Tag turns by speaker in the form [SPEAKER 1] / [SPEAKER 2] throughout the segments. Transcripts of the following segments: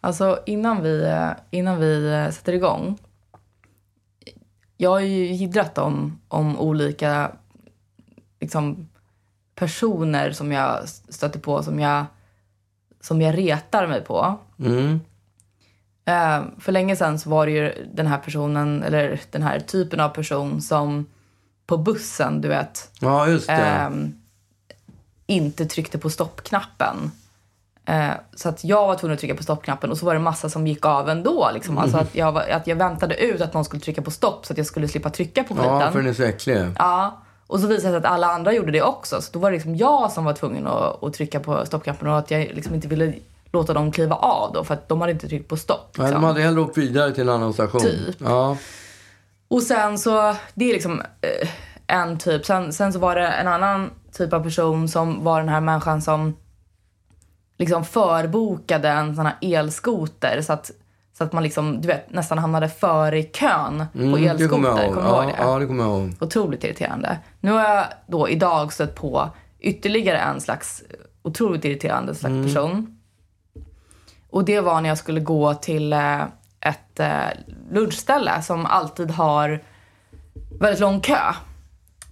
[SPEAKER 1] Alltså innan vi, eh, innan vi eh, sätter igång. Jag har ju jiddrat om, om olika liksom, personer som jag stöter på som jag, som jag retar mig på.
[SPEAKER 2] Mm.
[SPEAKER 1] Eh, för länge sedan så var det ju den här personen, eller den här typen av person som på bussen, du vet,
[SPEAKER 2] Ja, just det.
[SPEAKER 1] ehm, inte tryckte på stoppknappen. Eh, så att jag var tvungen att trycka på stoppknappen och så var det massa som gick av ändå. Liksom. Alltså
[SPEAKER 2] Mm.
[SPEAKER 1] att jag, var, att jag väntade ut att någon skulle trycka på stopp så att jag skulle slippa trycka på skiten.
[SPEAKER 2] ja, för den är så äcklig.
[SPEAKER 1] Ja. Och så visade det sig att alla andra gjorde det också. Så då var det liksom jag som var tvungen att, att trycka på stoppknappen och att jag liksom inte ville låta dem kliva av då för att de hade inte tryckt på stopp.
[SPEAKER 2] Nej,
[SPEAKER 1] liksom.
[SPEAKER 2] de hade hellre åkt vidare till en annan station.
[SPEAKER 1] Typ.
[SPEAKER 2] Ja.
[SPEAKER 1] Och sen så, det är liksom eh, en typ. Sen, sen så var det en annan typ av person som var den här människan som liksom förbokade en sån här elskoter så att, så att man liksom, du vet, nästan hamnade före i kön på
[SPEAKER 2] Mm,
[SPEAKER 1] elskoter.
[SPEAKER 2] det kommer jag ihåg.
[SPEAKER 1] Kommer du ihåg
[SPEAKER 2] ja,
[SPEAKER 1] det?
[SPEAKER 2] ja, det kommer jag ihåg.
[SPEAKER 1] Otroligt irriterande. Nu har jag då idag stött på ytterligare en slags eh, otroligt irriterande slags
[SPEAKER 2] Mm.
[SPEAKER 1] person. Och det var när jag skulle gå till eh, ett eh, lunchställe som alltid har väldigt lång kö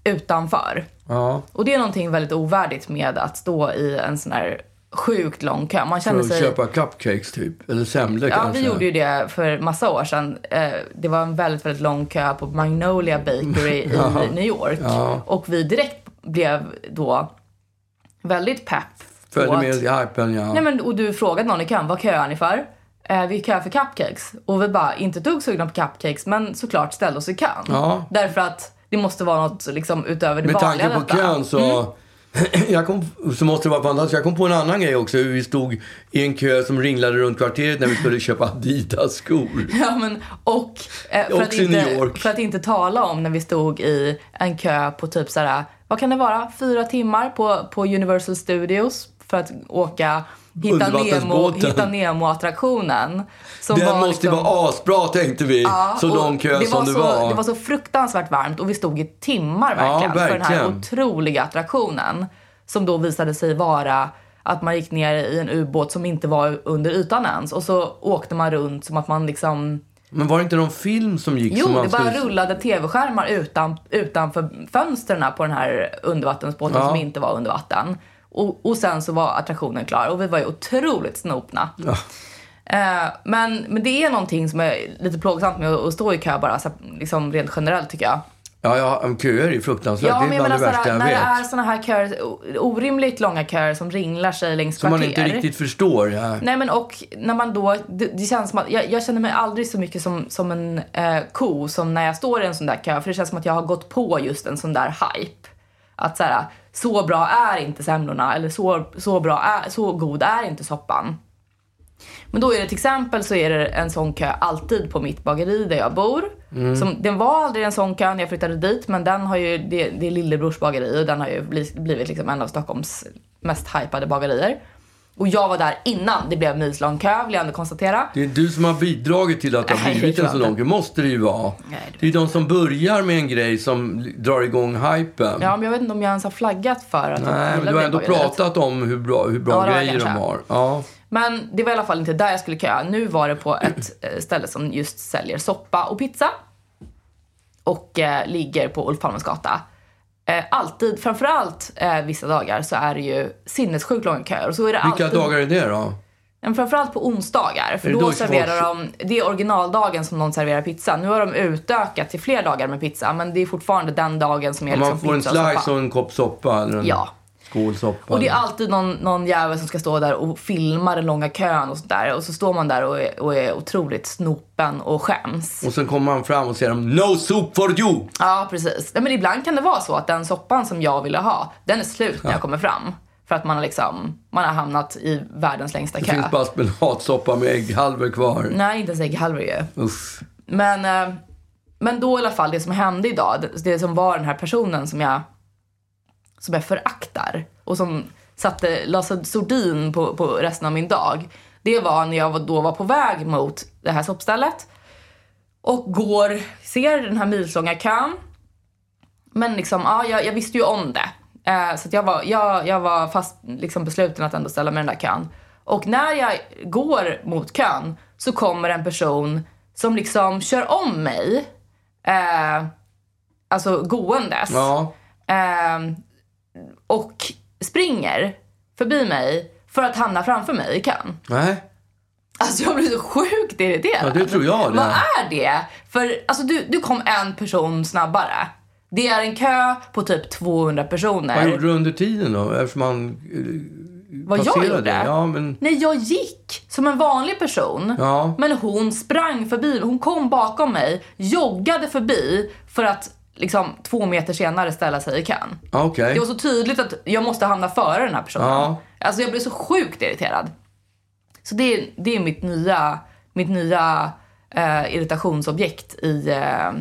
[SPEAKER 1] utanför.
[SPEAKER 2] Ja.
[SPEAKER 1] Och det är någonting väldigt ovärdigt med att stå i en sån här sjukt lång kö. Man
[SPEAKER 2] För
[SPEAKER 1] känner
[SPEAKER 2] att
[SPEAKER 1] sig...
[SPEAKER 2] köpa cupcakes typ. Eller semlor
[SPEAKER 1] Ja,
[SPEAKER 2] kanske.
[SPEAKER 1] vi gjorde ju det för massa år sedan. Eh, Det var en väldigt, väldigt lång kö på Magnolia Bakery i New York. Och vi direkt blev då väldigt pepp. på
[SPEAKER 2] Följde
[SPEAKER 1] att-
[SPEAKER 2] med i hypen, ja.
[SPEAKER 1] Nej, men, och du frågade någon i kön, vad köar ni för? Eh, vi köar för cupcakes. Och vi bara, inte tog sugna på cupcakes, men såklart ställde oss i kön.
[SPEAKER 2] Ja.
[SPEAKER 1] Därför att det måste vara något liksom, utöver det
[SPEAKER 2] Med
[SPEAKER 1] vanliga.
[SPEAKER 2] tanke på
[SPEAKER 1] detta. Mm.
[SPEAKER 2] kön så, jag kom, så måste det vara fantastiskt. Jag kom på en annan grej också. Hur vi stod i en kö som ringlade runt kvarteret när vi skulle köpa Adidas-skor.
[SPEAKER 1] Ja, men, och eh, för,
[SPEAKER 2] Också
[SPEAKER 1] att
[SPEAKER 2] i New
[SPEAKER 1] inte,
[SPEAKER 2] York.
[SPEAKER 1] för att inte tala om när vi stod i en kö på typ så här, vad kan det vara, fyra timmar på, på Universal Studios för att åka Hitta Nemo,
[SPEAKER 2] Undervattensbåten.
[SPEAKER 1] Hitta Nemo-attraktionen. Som liksom-
[SPEAKER 2] Den måste vara asbra tänkte vi. så
[SPEAKER 1] och
[SPEAKER 2] lång kö
[SPEAKER 1] det
[SPEAKER 2] som det
[SPEAKER 1] så,
[SPEAKER 2] var.
[SPEAKER 1] Det var så fruktansvärt varmt och vi stod i timmar verkligen, för den här
[SPEAKER 2] verkligen.
[SPEAKER 1] otroliga attraktionen. Som då visade sig vara att man gick ner i en ubåt som inte var under ytan ens. Och så åkte man runt som att man liksom
[SPEAKER 2] Men var det inte någon film som gick? som
[SPEAKER 1] Jo,
[SPEAKER 2] man
[SPEAKER 1] det bara
[SPEAKER 2] skulle-
[SPEAKER 1] rullade tv-skärmar utan, utanför fönstren på den här undervattensbåten
[SPEAKER 2] Ja.
[SPEAKER 1] som inte var under vatten. Och, och sen så var attraktionen klar och vi var ju otroligt snopna. Eh, men, men det är någonting som är lite plågsamt med att, att stå i kö bara, så, här, liksom rent generellt tycker jag.
[SPEAKER 2] Ja, ja, men köer är fruktansvärt. det
[SPEAKER 1] men
[SPEAKER 2] är bland det
[SPEAKER 1] såhär,
[SPEAKER 2] värsta jag
[SPEAKER 1] när
[SPEAKER 2] vet.
[SPEAKER 1] det är såna här köer, o- orimligt långa köer som ringlar sig längs
[SPEAKER 2] Som
[SPEAKER 1] kvarter.
[SPEAKER 2] man inte riktigt förstår. Ja.
[SPEAKER 1] Nej men och när man då, det, det känns som att, jag, jag känner mig aldrig så mycket som, som en eh, ko som när jag står i en sån där kö för det känns som att jag har gått på just en sån där hype. Att så här, så bra är inte semlorna eller så, så, bra är, så god är inte soppan. Men då är det till exempel så är det en sån kö alltid på mitt bageri där jag bor.
[SPEAKER 2] Mm.
[SPEAKER 1] Som, den var aldrig en sån kö när jag flyttade dit men den har ju, det, det är lillebrors bageri och den har ju bli- blivit liksom en av Stockholms mest hypade bagerier. Och jag var där innan det blev milslång kö vill jag ändå konstatera.
[SPEAKER 2] Det är du som har bidragit till att det har
[SPEAKER 1] Nej,
[SPEAKER 2] blivit
[SPEAKER 1] det
[SPEAKER 2] en
[SPEAKER 1] tror
[SPEAKER 2] så
[SPEAKER 1] jag
[SPEAKER 2] lång kö. måste det ju vara.
[SPEAKER 1] Nej,
[SPEAKER 2] det är ju de som börjar med en grej som drar igång hypen.
[SPEAKER 1] Ja men jag vet inte om jag ens har flaggat för att jag
[SPEAKER 2] Nej, men
[SPEAKER 1] gillar
[SPEAKER 2] du har
[SPEAKER 1] det
[SPEAKER 2] ändå
[SPEAKER 1] bageriet.
[SPEAKER 2] pratat om hur bra, hur bra
[SPEAKER 1] Ja, det har jag
[SPEAKER 2] grejer de
[SPEAKER 1] kanske.
[SPEAKER 2] har. Ja.
[SPEAKER 1] Men det var i alla fall inte där jag skulle köa. Nu var det på ett eh, ställe som just säljer soppa och pizza. Och eh, ligger på Ulf Palmes gata. Eh, alltid, framförallt eh, vissa dagar, så är det ju sinnessjukt långa köer. Och så är det
[SPEAKER 2] Vilka
[SPEAKER 1] alltid,
[SPEAKER 2] dagar är det då?
[SPEAKER 1] Men framförallt på onsdagar. För
[SPEAKER 2] Är det
[SPEAKER 1] då,
[SPEAKER 2] då
[SPEAKER 1] serverar de, det är originaldagen som de serverar pizza. Nu har de utökat till fler dagar med pizza. Men det är fortfarande den dagen som är liksom
[SPEAKER 2] Man får en
[SPEAKER 1] pizza och
[SPEAKER 2] slice
[SPEAKER 1] soppa.
[SPEAKER 2] och en kopp soppa eller en
[SPEAKER 1] Ja.
[SPEAKER 2] skål soppa.
[SPEAKER 1] Och det är alltid någon, någon jävel som ska stå där och filma den långa kön och sånt där. Och så står man där och är, och är otroligt snopen och skäms.
[SPEAKER 2] Och sen kommer man fram och säger dem, No soup for you!
[SPEAKER 1] Ja, precis. Nej, men ibland kan det vara så att den soppan som jag ville ha, den är slut när jag kommer fram. För att man har, liksom, man har hamnat i världens längsta
[SPEAKER 2] Det
[SPEAKER 1] kö.
[SPEAKER 2] finns bara spenatsoppa med ägghalvor kvar.
[SPEAKER 1] Nej, inte ens ägghalvor ju.
[SPEAKER 2] Uff.
[SPEAKER 1] Men, eh, men då i alla fall, det som hände idag, det- det som var den här personen som jag, som jag föraktar och som satte, la sig sordin på, på resten av min dag. Det var när jag var- då var på väg mot det här soppstället och går, ser den här milslånga kön. Men liksom, ja, jag, jag visste ju om det. Eh, så att jag, var, jag, jag var fast liksom besluten att ändå ställa mig i den där kön. Och när jag går mot kön så kommer en person som liksom kör om mig. Eh, alltså gåendes.
[SPEAKER 2] Ja.
[SPEAKER 1] Ehm, och springer förbi mig för att hamna framför mig i kön.
[SPEAKER 2] Nej.
[SPEAKER 1] Alltså jag blir så sjukt irriterad.
[SPEAKER 2] Ja, det tror jag det.
[SPEAKER 1] Vad är det? För alltså du, du kom en person snabbare. Det är en kö på typ 200 personer.
[SPEAKER 2] Vad gjorde du under tiden då? Eftersom han
[SPEAKER 1] Vad jag
[SPEAKER 2] passerade.
[SPEAKER 1] gjorde?
[SPEAKER 2] Ja, men...
[SPEAKER 1] Nej, jag gick som en vanlig person.
[SPEAKER 2] Ja.
[SPEAKER 1] Men hon sprang förbi. Hon kom bakom mig, joggade förbi för att liksom två meter senare ställa sig i kön.
[SPEAKER 2] Ja, Okej.
[SPEAKER 1] Det var så tydligt att jag måste hamna före den här personen.
[SPEAKER 2] Ja.
[SPEAKER 1] Alltså jag blev så sjukt irriterad. Så det är, det är mitt nya, mitt nya eh, irritationsobjekt i, eh,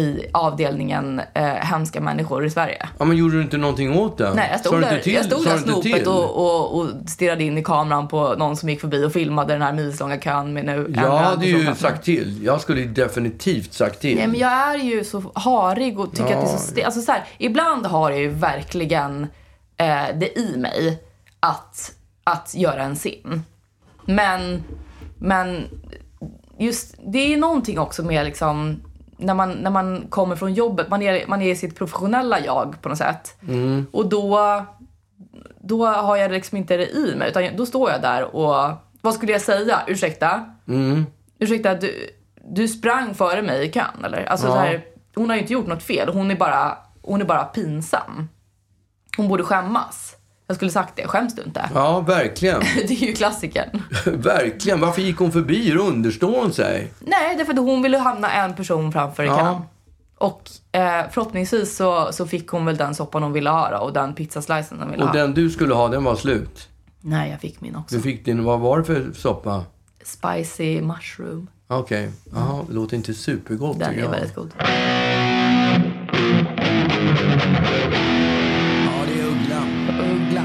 [SPEAKER 1] i avdelningen eh, hemska människor i Sverige.
[SPEAKER 2] Ja, men gjorde du inte någonting åt det?
[SPEAKER 1] Nej, jag
[SPEAKER 2] Sa
[SPEAKER 1] stod
[SPEAKER 2] du inte
[SPEAKER 1] där,
[SPEAKER 2] till?
[SPEAKER 1] jag stod
[SPEAKER 2] Sa
[SPEAKER 1] där
[SPEAKER 2] du inte
[SPEAKER 1] snopet
[SPEAKER 2] till?
[SPEAKER 1] och, och, och stirrade in i kameran på någon som gick förbi och filmade den här milslånga kön med nu
[SPEAKER 2] Jag hade ju
[SPEAKER 1] sagt
[SPEAKER 2] sagt till. Jag skulle ju definitivt sagt till.
[SPEAKER 1] Nej, men jag är ju så harig och tycker att det är så
[SPEAKER 2] Ja.
[SPEAKER 1] stelt. Alltså, så här, ibland har jag ju verkligen eh, det i mig att, att göra en sim. Men, men just det är någonting också med liksom när man, när man kommer från jobbet, man är, man är sitt professionella jag på något sätt.
[SPEAKER 2] Mm.
[SPEAKER 1] Och då, då har jag liksom inte det i mig utan då står jag där och vad skulle jag säga? Ursäkta?
[SPEAKER 2] Mm.
[SPEAKER 1] Ursäkta, du, du sprang före mig i kön eller? Alltså,
[SPEAKER 2] Ja.
[SPEAKER 1] så här, hon har ju inte gjort något fel. Hon är, bara, hon är bara pinsam. Hon borde skämmas. Jag skulle sagt det. Skäms du inte?
[SPEAKER 2] Ja, verkligen.
[SPEAKER 1] Det är ju klassikern.
[SPEAKER 2] verkligen. Varför gick hon förbi? Då understår hon sig.
[SPEAKER 1] Nej, därför att hon ville hamna en person framför i
[SPEAKER 2] Ja.
[SPEAKER 1] kön. Och eh, förhoppningsvis så, så fick hon väl den soppan hon ville ha då, och den pizzaslicen hon ville
[SPEAKER 2] Och
[SPEAKER 1] ha.
[SPEAKER 2] den du skulle ha, den var slut.
[SPEAKER 1] Nej, jag fick min också.
[SPEAKER 2] Du fick din, vad var det för soppa?
[SPEAKER 1] Spicy mushroom.
[SPEAKER 2] Okej. Jaha, det låter inte supergott
[SPEAKER 1] Mm. Den
[SPEAKER 2] tycker
[SPEAKER 1] är
[SPEAKER 2] jag.
[SPEAKER 1] väldigt god.
[SPEAKER 2] Ja, det är Uggla.
[SPEAKER 1] Uggla.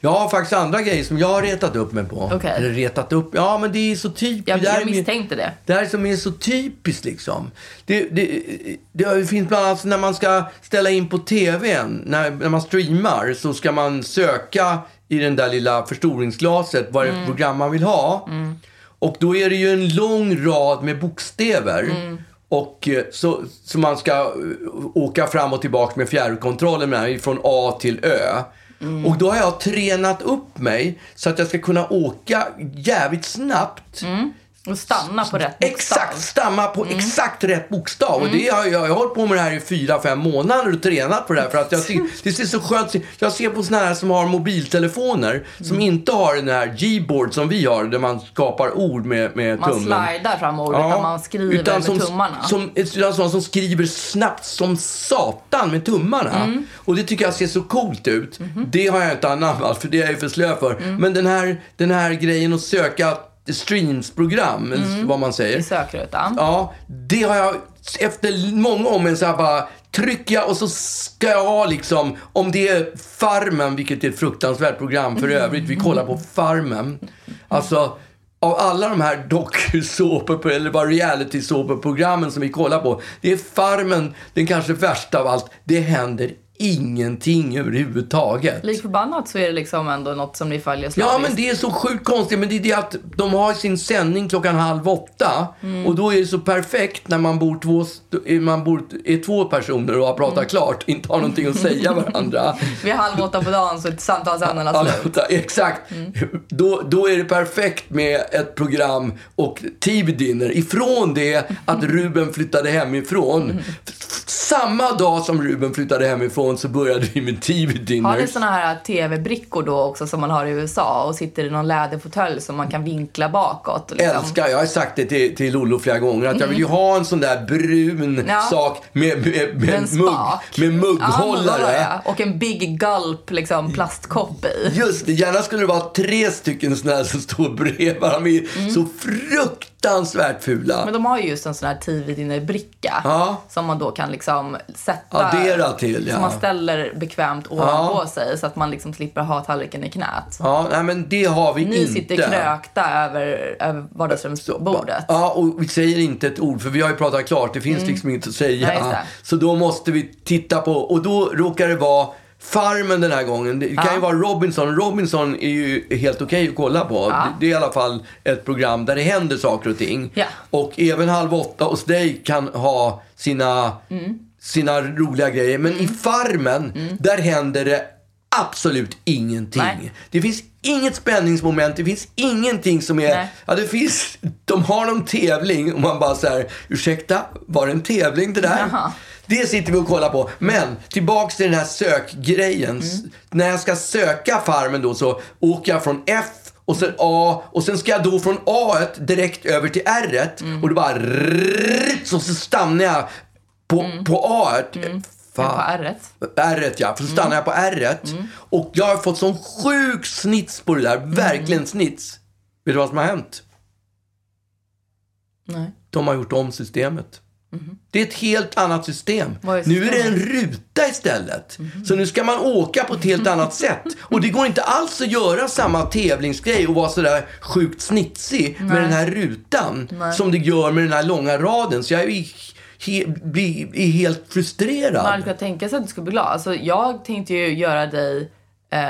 [SPEAKER 2] Jag har faktiskt andra grejer som jag har retat upp mig på.
[SPEAKER 1] Okej.
[SPEAKER 2] Eller retat upp. Ja, men det är så typiskt.
[SPEAKER 1] Jag,
[SPEAKER 2] Det här är
[SPEAKER 1] jag
[SPEAKER 2] min-
[SPEAKER 1] misstänkte det.
[SPEAKER 2] Det här som är så typiskt liksom. Det, det, det finns bland annat när man ska ställa in på TVn, när, när man streamar, så ska man söka i den där lilla förstoringsglaset vad det är för program man vill ha. Och då är det ju en lång rad med bokstäver. Och eh, så, så man ska eh, åka fram och tillbaka med fjärrkontrollen med den här, från A till Ö. Och då har jag tränat upp mig så att jag ska kunna åka jävligt snabbt
[SPEAKER 1] Och stanna på rätt bokstav. Mm.
[SPEAKER 2] Exakt, stamma på exakt rätt bokstav. Och det har jag, jag har hållit på med det här i fyra, fem månader och tränat på det här. För att jag tycker, det ser så skönt Jag ser på såna här som har mobiltelefoner
[SPEAKER 1] Mm.
[SPEAKER 2] som inte har den här G-board som vi har där man skapar ord med, med
[SPEAKER 1] Man
[SPEAKER 2] tummen.
[SPEAKER 1] slidar fram ord utan man skriver med
[SPEAKER 2] som,
[SPEAKER 1] tummarna.
[SPEAKER 2] Som, utan sådana som skriver snabbt som satan med tummarna.
[SPEAKER 1] Mm.
[SPEAKER 2] Och det tycker jag ser så coolt ut.
[SPEAKER 1] Mm-hmm.
[SPEAKER 2] Det har jag inte anammat för det är jag ju för slö för.
[SPEAKER 1] Mm.
[SPEAKER 2] Men den här, den här grejen att söka streamsprogram, eller
[SPEAKER 1] Mm.
[SPEAKER 2] vad man säger.
[SPEAKER 1] I sökrutan.
[SPEAKER 2] Ja, det har jag efter många om en så här bara trycker jag och så ska jag ha liksom, om det är Farmen, vilket är ett fruktansvärt program för övrigt, vi kollar på Farmen. Alltså, av alla de här dokusåpor, eller bara reality-såpeprogrammen som vi kollar på, det är Farmen den kanske värsta av allt. Det händer ingenting överhuvudtaget.
[SPEAKER 1] Lik förbannat så är det liksom ändå något som ni följer slaviskt.
[SPEAKER 2] Ja, men det är så sjukt konstigt. Men det är det att de har sin sändning klockan halv åtta. Och då är det så perfekt när man bor två, st- man bor, är två personer och har pratat klart. Inte har någonting att säga varandra.
[SPEAKER 1] Vid halv åtta på dagen så är samtalsämnena
[SPEAKER 2] Alla,
[SPEAKER 1] slut.
[SPEAKER 2] vänta, exakt. Då, då är det perfekt med ett program och TV-dinner. Ifrån det att Ruben flyttade hemifrån. F- Samma dag som Ruben flyttade hemifrån så började vi med
[SPEAKER 1] Har ni
[SPEAKER 2] TV-dinners.
[SPEAKER 1] såna här tv-brickor då också som man har i USA och sitter i någon läderfåtölj som man kan vinkla bakåt? och Liksom.
[SPEAKER 2] älskar, jag har sagt det till, till Lollo flera gånger, att jag vill ju ha en sån där brun
[SPEAKER 1] Mm. Ja.
[SPEAKER 2] sak med, med, med,
[SPEAKER 1] En
[SPEAKER 2] mugg,
[SPEAKER 1] spak.
[SPEAKER 2] med
[SPEAKER 1] Ja,
[SPEAKER 2] mugghållare.
[SPEAKER 1] ja. Och en Big Gulp liksom, plastkopp i.
[SPEAKER 2] Just det, gärna skulle det vara tre stycken såna här som står bredvid varandra. De är Så fruktansvärt fula.
[SPEAKER 1] Mm. Men de har ju just en sån här TV-dinner-bricka
[SPEAKER 2] Ja.
[SPEAKER 1] som man då kan liksom sätta.
[SPEAKER 2] Addera till,
[SPEAKER 1] Som man
[SPEAKER 2] ja.
[SPEAKER 1] ställer bekvämt ovanpå sig så att man liksom slipper ha tallriken i knät.
[SPEAKER 2] Ja, nej men det har vi
[SPEAKER 1] Ni
[SPEAKER 2] inte.
[SPEAKER 1] sitter krökta över, över vardagsrumsbordet.
[SPEAKER 2] Ja, och vi säger inte ett ord för vi har ju pratat klart. Det finns liksom inget att säga.
[SPEAKER 1] Nej, Mm. just det.
[SPEAKER 2] så då måste vi titta på, och då råkar det vara Farmen den här gången. Det kan ju vara Robinson. Robinson är ju helt okej att kolla på. Det, det är i alla fall ett program där det händer saker och ting.
[SPEAKER 1] Ja.
[SPEAKER 2] Och även Halv åtta hos dig kan ha sina,
[SPEAKER 1] Mm.
[SPEAKER 2] sina roliga grejer. Men i Farmen, där händer det absolut ingenting.
[SPEAKER 1] Nej.
[SPEAKER 2] Det finns inget spänningsmoment. Det finns ingenting som är...
[SPEAKER 1] Nej.
[SPEAKER 2] Ja, det finns... De har någon tävling och man bara så här, ursäkta, var det en tävling det där?
[SPEAKER 1] Jaha.
[SPEAKER 2] Det sitter vi och kollar på. Men tillbaks till den här sökgrejen. S- När jag ska söka Farmen då så åker jag från F och sen A och sen ska jag då från A direkt över till R och det bara rrrr, så, så stannar jag på, på A.
[SPEAKER 1] På ärret.
[SPEAKER 2] R ja. För så stannar jag på R
[SPEAKER 1] Mm.
[SPEAKER 2] Och jag har fått sån sjuk snits på det där. Verkligen
[SPEAKER 1] Mm.
[SPEAKER 2] snits. Vet du vad som har hänt?
[SPEAKER 1] Nej. Mm-hmm.
[SPEAKER 2] De har gjort om systemet. Det är ett helt annat system.
[SPEAKER 1] Vad är
[SPEAKER 2] nu är det en
[SPEAKER 1] systemet? Mm-hmm.
[SPEAKER 2] ruta istället. Så nu ska man åka på ett helt annat sätt. Och det går inte alls att göra samma tävlingsgrej och vara sådär sjukt snitsig med den här rutan som det gör med den här långa raden. Så jag är, ju he, blir- är helt frustrerad.
[SPEAKER 1] Man hade kunnat tänka sig att du skulle bli glad. Alltså, jag tänkte ju göra dig eh,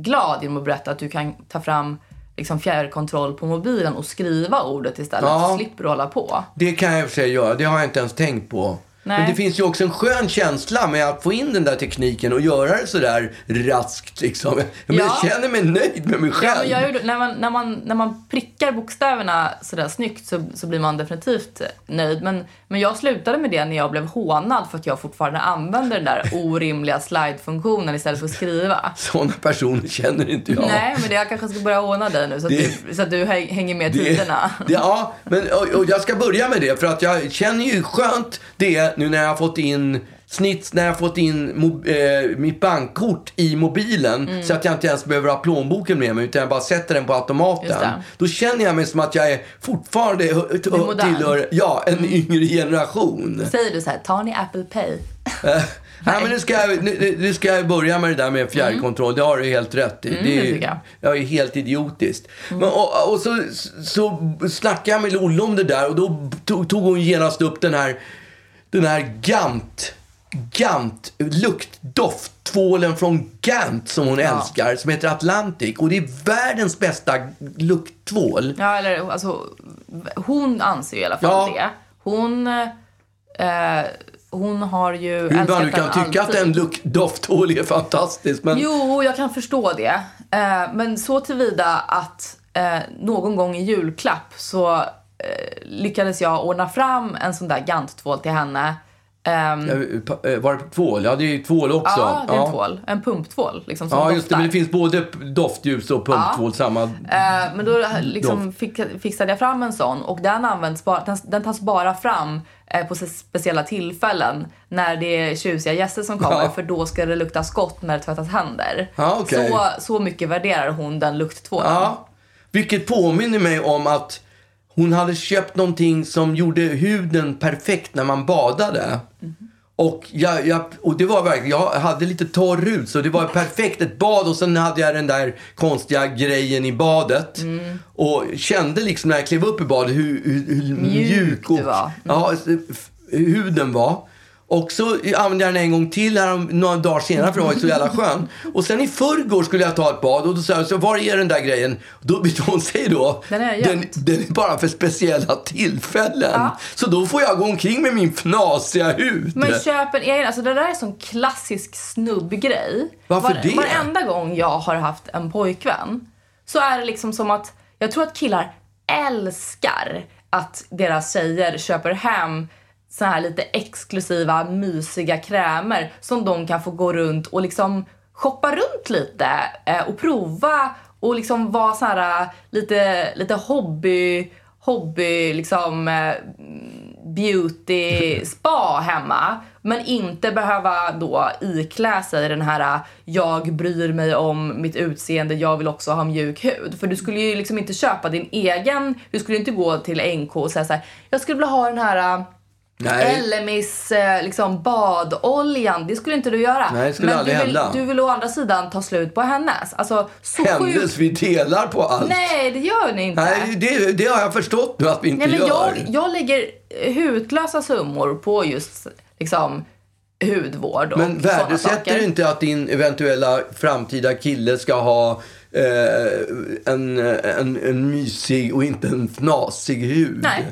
[SPEAKER 1] glad genom att berätta att du kan ta fram liksom, fjärrkontroll på mobilen och skriva ordet istället.
[SPEAKER 2] Ja.
[SPEAKER 1] Så slipper du hålla på.
[SPEAKER 2] Det kan jag i och för sig göra. Det har jag inte ens tänkt på.
[SPEAKER 1] Nej.
[SPEAKER 2] Men det finns ju också en skön känsla med att få in den där tekniken och göra det sådär raskt liksom. Men
[SPEAKER 1] Ja.
[SPEAKER 2] jag känner mig nöjd med mig
[SPEAKER 1] Ja,
[SPEAKER 2] själv.
[SPEAKER 1] men jag, gjorde- när, man, när, man, när man prickar bokstäverna sådär snyggt så, så blir man definitivt eh, nöjd. Men, men jag slutade med det när jag blev hånad för att jag fortfarande använder den där orimliga slide-funktionen istället för att skriva.
[SPEAKER 2] Sådana personer känner inte jag.
[SPEAKER 1] Nej, men det, jag kanske ska börja håna dig nu så att,
[SPEAKER 2] Det-
[SPEAKER 1] du, så att du häng- hänger med
[SPEAKER 2] Det-
[SPEAKER 1] tiderna.
[SPEAKER 2] det- Ja, men och, och jag ska börja med det för att jag känner ju skönt det nu när jag har fått in snitt, när jag har fått in mo- eh, mitt bankkort i mobilen
[SPEAKER 1] Mm.
[SPEAKER 2] så att jag inte ens behöver ha plånboken med mig utan jag bara sätter den på
[SPEAKER 1] Just
[SPEAKER 2] automaten.
[SPEAKER 1] det.
[SPEAKER 2] Då känner jag mig som att jag är fortfarande hö- t-
[SPEAKER 1] är modern. Mm.
[SPEAKER 2] tillhör ja, en yngre generation.
[SPEAKER 1] Säger du så här, tar ni Apple Pay?
[SPEAKER 2] Nej, men nu ska, jag, nu, nu- nu ska jag börja med det där med fjärrkontroll. Det har du helt rätt i. det
[SPEAKER 1] Mm, det
[SPEAKER 2] är,
[SPEAKER 1] tycker jag. Mm.
[SPEAKER 2] är helt idiotiskt. Men, och, och så, så snackade jag med Lollo om det där och då tog, tog hon genast upp den här, den här Gant. Gant, luktdoft, tvålen från Gant som hon älskar, som heter Atlantic. Och det är världens bästa lukttvål.
[SPEAKER 1] Ja, eller alltså, hon anser ju i alla fall
[SPEAKER 2] Ja.
[SPEAKER 1] det. Hon, eh, hon har ju
[SPEAKER 2] Hur man nu kan tycka att
[SPEAKER 1] alltid.
[SPEAKER 2] en luktdoftvål är fantastisk. Men...
[SPEAKER 1] Jo, jag kan förstå det. Eh, men så tillvida att eh, någon gång i julklapp så eh, lyckades jag ordna fram en sån där Gant-tvål till henne. Ehm,
[SPEAKER 2] Eh, pa- eh, Var det tvål? Ja, det är ju tvål också.
[SPEAKER 1] ja, det är en tvål. En pumptvål liksom, som
[SPEAKER 2] Ja, just det.
[SPEAKER 1] doftar.
[SPEAKER 2] Men det finns både p- doftljus och pumptvål samma.
[SPEAKER 1] Eh, Men då liksom fick- fixade jag fram en sån och den, används bara, den, den tas bara fram eh, på s- speciella tillfällen när det är tjusiga gäster som kommer
[SPEAKER 2] Ja.
[SPEAKER 1] för då ska det lukta skott när det tvättas händer.
[SPEAKER 2] Ja, okej.
[SPEAKER 1] så, så mycket värderar hon den lukttvålen.
[SPEAKER 2] Ja. Vilket påminner mig om att hon hade köpt någonting som gjorde huden perfekt när man badade. Och, jag, jag, och det var verkligen, jag hade lite torr hud så det var perfekt ett bad och sen hade jag den där konstiga grejen i badet. Och kände liksom när jag klev upp i badet hur, hur, hur mjuk,
[SPEAKER 1] Mjuk du
[SPEAKER 2] och
[SPEAKER 1] var.
[SPEAKER 2] ja, f- huden var. Och så använde jag den en gång till här, om- några dagar senare för den var ju så jävla skön. Och sen i förrgår skulle jag ta ett bad och då sa jag, så var är den där grejen? Då vet du vad hon säger då?
[SPEAKER 1] Den är
[SPEAKER 2] den,
[SPEAKER 1] gömd."
[SPEAKER 2] den är bara för speciella tillfällen.
[SPEAKER 1] Ja.
[SPEAKER 2] Så då får jag gå omkring med min fnasiga hud.
[SPEAKER 1] Men köp en egen. Alltså det där är en sån klassisk snubbgrej.
[SPEAKER 2] Varför det?
[SPEAKER 1] Varenda gång jag har haft en pojkvän så är det liksom som att jag tror att killar älskar att deras tjejer köper hem så här lite exklusiva mysiga krämer som de kan få gå runt och liksom shoppa runt lite eh, och prova och liksom vara så här eh, lite, lite hobby, hobby liksom eh, beauty spa hemma men inte behöva då iklä sig den här äh, jag bryr mig om mitt utseende, jag vill också ha mjuk hud. För du skulle ju liksom inte köpa din egen, du skulle inte gå till NK och säga så här, jag skulle vilja ha den här
[SPEAKER 2] Nej.
[SPEAKER 1] Elemis eh, liksom badoljan, det skulle inte du göra.
[SPEAKER 2] Nej, det skulle
[SPEAKER 1] men
[SPEAKER 2] aldrig
[SPEAKER 1] du vill,
[SPEAKER 2] hända.
[SPEAKER 1] du vill å andra sidan ta slut på hennes. Alltså så
[SPEAKER 2] Hennes,
[SPEAKER 1] sjukt.
[SPEAKER 2] vi delar på allt.
[SPEAKER 1] Nej, det gör ni inte.
[SPEAKER 2] Nej, det, det har jag förstått nu att vi inte
[SPEAKER 1] Nej, men
[SPEAKER 2] gör.
[SPEAKER 1] jag, jag lägger eh, hutlösa summor på just liksom, hudvård och
[SPEAKER 2] Men
[SPEAKER 1] sådana
[SPEAKER 2] värdesätter
[SPEAKER 1] saker.
[SPEAKER 2] du inte att din eventuella framtida kille ska ha eh, en, en, en mysig och inte en fnasig hud?
[SPEAKER 1] Nej.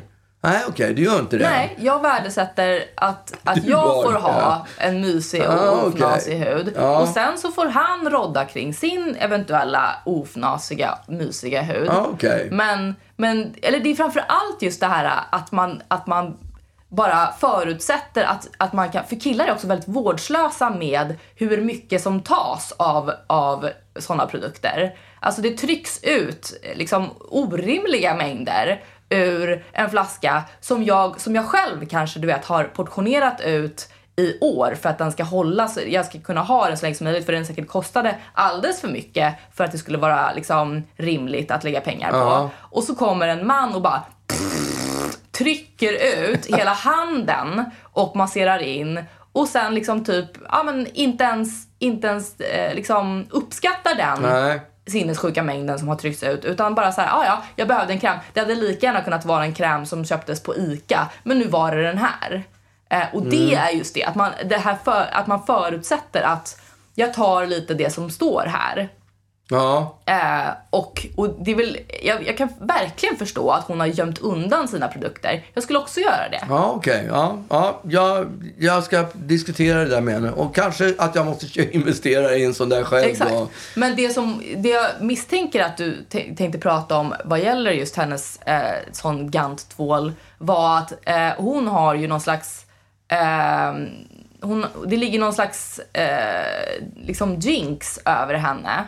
[SPEAKER 2] Nej, okej, du gör inte det.
[SPEAKER 1] Nej, jag värdesätter att, att
[SPEAKER 2] Du
[SPEAKER 1] jag
[SPEAKER 2] var-
[SPEAKER 1] får ha
[SPEAKER 2] ja.
[SPEAKER 1] en mysig och
[SPEAKER 2] Ah, okej.
[SPEAKER 1] ofnasig hud.
[SPEAKER 2] Ja.
[SPEAKER 1] Och sen så får han rodda kring sin eventuella ofnasiga, mysiga hud.
[SPEAKER 2] Ja, okej.
[SPEAKER 1] Men, men eller det är framför allt just det här att man, att man bara förutsätter att, att man kan... För killar är också väldigt vårdslösa med hur mycket som tas av, av sådana produkter. Alltså det trycks ut eh, liksom orimliga mängder ur en flaska som jag, som jag själv kanske du vet har portionerat ut i år för att den ska hålla, så jag ska kunna ha den så länge som möjligt för den säkert kostade alldeles för mycket för att det skulle vara liksom rimligt att lägga pengar på.
[SPEAKER 2] Ja.
[SPEAKER 1] Och så kommer en man och bara trycker ut hela handen och masserar in och sen liksom typ, ja men inte ens, inte ens eh, liksom uppskattar den
[SPEAKER 2] Nej.
[SPEAKER 1] sinnessjuka mängden som har tryckts ut utan bara så här, ah, ja, jag behövde en kräm. Det hade lika gärna kunnat vara en kräm som köptes på ICA, men nu var det den här. Eh, och det
[SPEAKER 2] Mm.
[SPEAKER 1] är just det, att man, det här för, att man förutsätter att jag tar lite det som står här.
[SPEAKER 2] Ja.
[SPEAKER 1] Eh, och, och det är väl, jag, jag kan verkligen förstå att hon har gömt undan sina produkter. Jag skulle också göra det.
[SPEAKER 2] Ja, okej. Ja, ja, jag, jag ska diskutera det där med henne. Och kanske att jag måste investera i en sån där själv.
[SPEAKER 1] Exakt.
[SPEAKER 2] då.
[SPEAKER 1] Men det som det jag misstänker att du t- tänkte prata om vad gäller just hennes eh, sån Gant-tvål var att eh, hon har ju någon slags... Eh, hon, det ligger någon slags eh, liksom jinx över henne.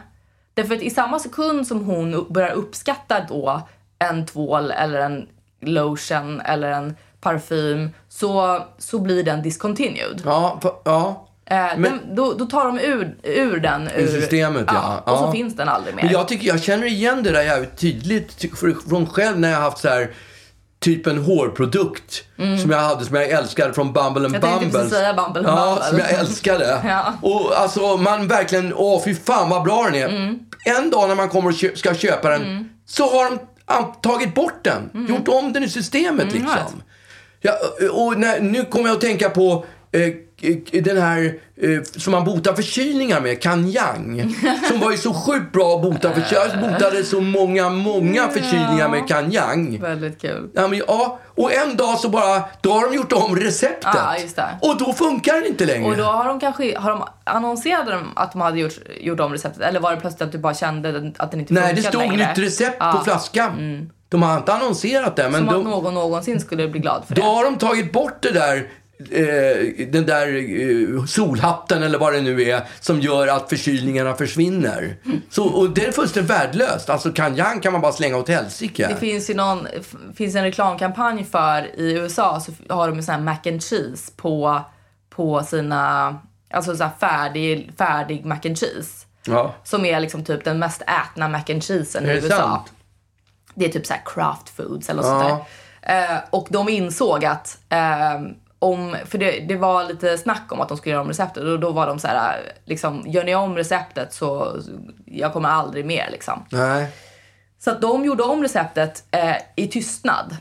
[SPEAKER 1] Därför att i samma sekund som hon upp- börjar uppskatta då en tvål eller en lotion eller en parfym så, så blir den discontinued.
[SPEAKER 2] Ja, fa- ja.
[SPEAKER 1] Eh, den, då, då tar de ur, ur den ur,
[SPEAKER 2] systemet, ja.
[SPEAKER 1] Och så
[SPEAKER 2] Ja.
[SPEAKER 1] finns den aldrig mer.
[SPEAKER 2] Men jag, tycker, jag känner igen det där jävligt tydligt ty- för- från själv när jag har haft så här typ en hårprodukt som jag hade som jag älskade från Bumble
[SPEAKER 1] Mm.
[SPEAKER 2] and
[SPEAKER 1] Jag tänkte
[SPEAKER 2] Bumble.
[SPEAKER 1] precis säga Bumble and
[SPEAKER 2] ja,
[SPEAKER 1] Bumble.
[SPEAKER 2] som jag älskade.
[SPEAKER 1] Ja.
[SPEAKER 2] Och alltså man verkligen, åh fy fan vad bra den är.
[SPEAKER 1] Mm.
[SPEAKER 2] En dag när man kommer och kö- ska köpa den så har de an- tagit bort den.
[SPEAKER 1] Mm.
[SPEAKER 2] Gjort om den i systemet liksom. Ja, och när, nu kommer jag att tänka på eh, eh, den här eh, som man botar förkylningar med, Kanyang. Som var ju så sjukt bra att bota förkylningar. Jag botade så många, många förkylningar med Kanyang.
[SPEAKER 1] Väldigt kul.
[SPEAKER 2] Ja, men, ja, och en dag så bara, då har de gjort om receptet.
[SPEAKER 1] Ja, just det.
[SPEAKER 2] Och då funkar den inte längre.
[SPEAKER 1] Och då har de kanske har de annonserat dem att de hade gjort, gjort om receptet eller var det plötsligt att du bara kände den- att den inte
[SPEAKER 2] Nej, det
[SPEAKER 1] funkade
[SPEAKER 2] stod
[SPEAKER 1] längre? Mm.
[SPEAKER 2] nytt recept på flaskan. De har inte annonserat det, men
[SPEAKER 1] Som
[SPEAKER 2] de,
[SPEAKER 1] att någon någonsin skulle bli glad för
[SPEAKER 2] då
[SPEAKER 1] det.
[SPEAKER 2] har de tagit bort det där eh, den där eh, solhatten eller vad det nu är som gör att förkylningarna försvinner. Så, och det är fullständigt värdelöst. Alltså kanjan kan man bara slänga åt helsike.
[SPEAKER 1] Det finns ju någon, f- finns en reklamkampanj för i USA så f- har de ju sån här mac and cheese på, på sina, alltså så här färdig, färdig mac and cheese.
[SPEAKER 2] Ja.
[SPEAKER 1] Som är liksom typ den mest ätna mac and cheesen i
[SPEAKER 2] Är det
[SPEAKER 1] USA.
[SPEAKER 2] sant?
[SPEAKER 1] Det är typ såhär craft foods eller något
[SPEAKER 2] Ja.
[SPEAKER 1] sånt där. Eh, och de insåg att eh, om, för det, det var lite snack om att de skulle göra om receptet och då var de så här, eh, liksom, gör ni om receptet så jag kommer aldrig mer liksom.
[SPEAKER 2] Nej.
[SPEAKER 1] Så att de gjorde om receptet eh, i tystnad.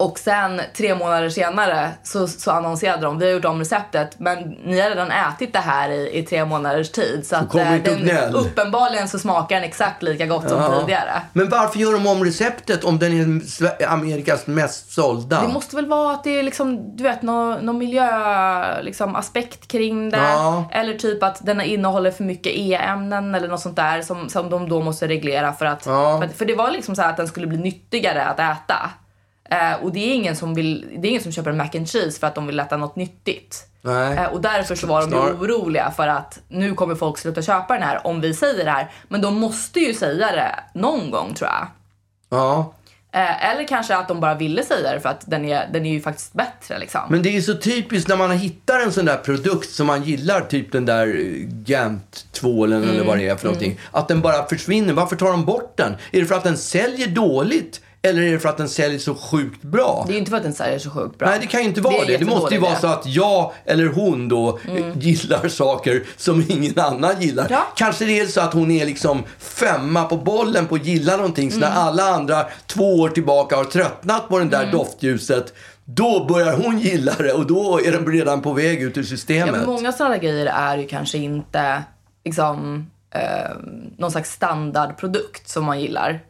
[SPEAKER 1] Och sen tre månader senare så, så annonserade de, vi har gjort om receptet men ni har redan ätit det här i, i tre månaders tid. Så att,
[SPEAKER 2] kommer
[SPEAKER 1] eh,
[SPEAKER 2] inte upp gnäll.
[SPEAKER 1] uppenbarligen så smakar den exakt lika gott som
[SPEAKER 2] Ja.
[SPEAKER 1] tidigare.
[SPEAKER 2] Men varför gör de om receptet om den är Sve- Amerikas mest sålda?
[SPEAKER 1] Det måste väl vara att det är liksom, du vet, någon, någon miljöaspekt liksom, aspekt kring det.
[SPEAKER 2] Ja.
[SPEAKER 1] Eller typ att den innehåller för mycket E-ämnen eller något sånt där som, som de då måste reglera för att,
[SPEAKER 2] Ja.
[SPEAKER 1] för att... För det var liksom så här att den skulle bli nyttigare att äta. Eh, och det är, ingen som vill, det är ingen som köper en mac and cheese för att de vill äta något nyttigt.
[SPEAKER 2] Nej.
[SPEAKER 1] Eh, och därför så var de ju
[SPEAKER 2] Snar-
[SPEAKER 1] oroliga för att nu kommer folk sluta köpa den här om vi säger det här. Men de måste ju säga det någon gång tror jag.
[SPEAKER 2] Ja.
[SPEAKER 1] Eh, eller kanske att de bara ville säga det för att den är, den är ju faktiskt bättre liksom.
[SPEAKER 2] Men det är ju så typiskt när man hittar en sån där produkt som man gillar, typ den där eh, Gant-tvålen eller vad det är för någonting. Att den bara försvinner. Varför tar de bort den? Är det för att den säljer dåligt? Eller är det för att den säljer så sjukt bra?
[SPEAKER 1] det är ju inte för att den säljer så sjukt bra.
[SPEAKER 2] Nej, det kan ju inte vara
[SPEAKER 1] är
[SPEAKER 2] det. Det, måste
[SPEAKER 1] jättedålig
[SPEAKER 2] ju vara
[SPEAKER 1] idé.
[SPEAKER 2] så att jag eller hon då eh, gillar saker som ingen annan gillar.
[SPEAKER 1] Ja.
[SPEAKER 2] Kanske det är så att hon är liksom femma på bollen på att gilla någonting. Så
[SPEAKER 1] Mm.
[SPEAKER 2] när alla andra två år tillbaka har tröttnat på det där doftljuset, då börjar hon gilla det och då är den redan på väg ut ur
[SPEAKER 1] Ja,
[SPEAKER 2] systemet.
[SPEAKER 1] men många sådana där grejer är ju kanske inte liksom, eh, någon slags standardprodukt som man gillar.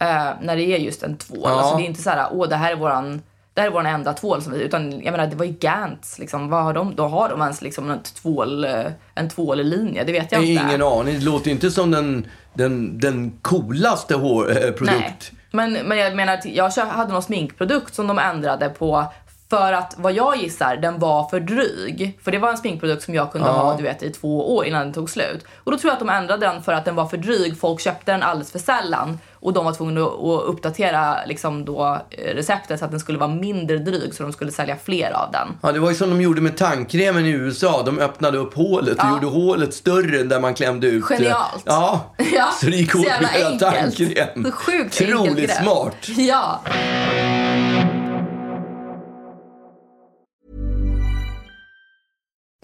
[SPEAKER 1] Eh, när det är just en tvål. Alltså, det är inte så här, åh det här är våran det här är vår enda tvål. Som vi, utan jag menar, det var ju Gants. Liksom. Vad har de? Då har de ens liksom en, tvål, eh, en tvållinje. Det vet jag
[SPEAKER 2] Jag
[SPEAKER 1] inte.
[SPEAKER 2] har ingen aning. Det låter ju inte som den, den, den coolaste hår, eh, produkt.
[SPEAKER 1] Men, men jag menar att jag kö- hade någon sminkprodukt som de ändrade på för att vad jag gissar, den var för dryg. För det var en sminkprodukt som jag kunde ha du vet, i två år innan den tog slut. Och då tror jag att de ändrade den för att den var för dryg. Folk köpte den alldeles för sällan. Och de var tvungna att att uppdatera liksom då, eh, receptet så att den skulle vara mindre dryg så de skulle sälja fler av den.
[SPEAKER 2] Ja, det var ju som de gjorde med tandkrämen i USA. De öppnade upp hålet och gjorde hålet större än där man klämde ut.
[SPEAKER 1] Genialt.
[SPEAKER 2] Ja,
[SPEAKER 1] Ja,
[SPEAKER 2] så det gick åt
[SPEAKER 1] jävla
[SPEAKER 2] med hela
[SPEAKER 1] enkelt.
[SPEAKER 2] tandkräm.
[SPEAKER 1] Så sjukt enkel
[SPEAKER 2] Otroligt
[SPEAKER 1] grej.
[SPEAKER 2] smart.
[SPEAKER 1] Ja.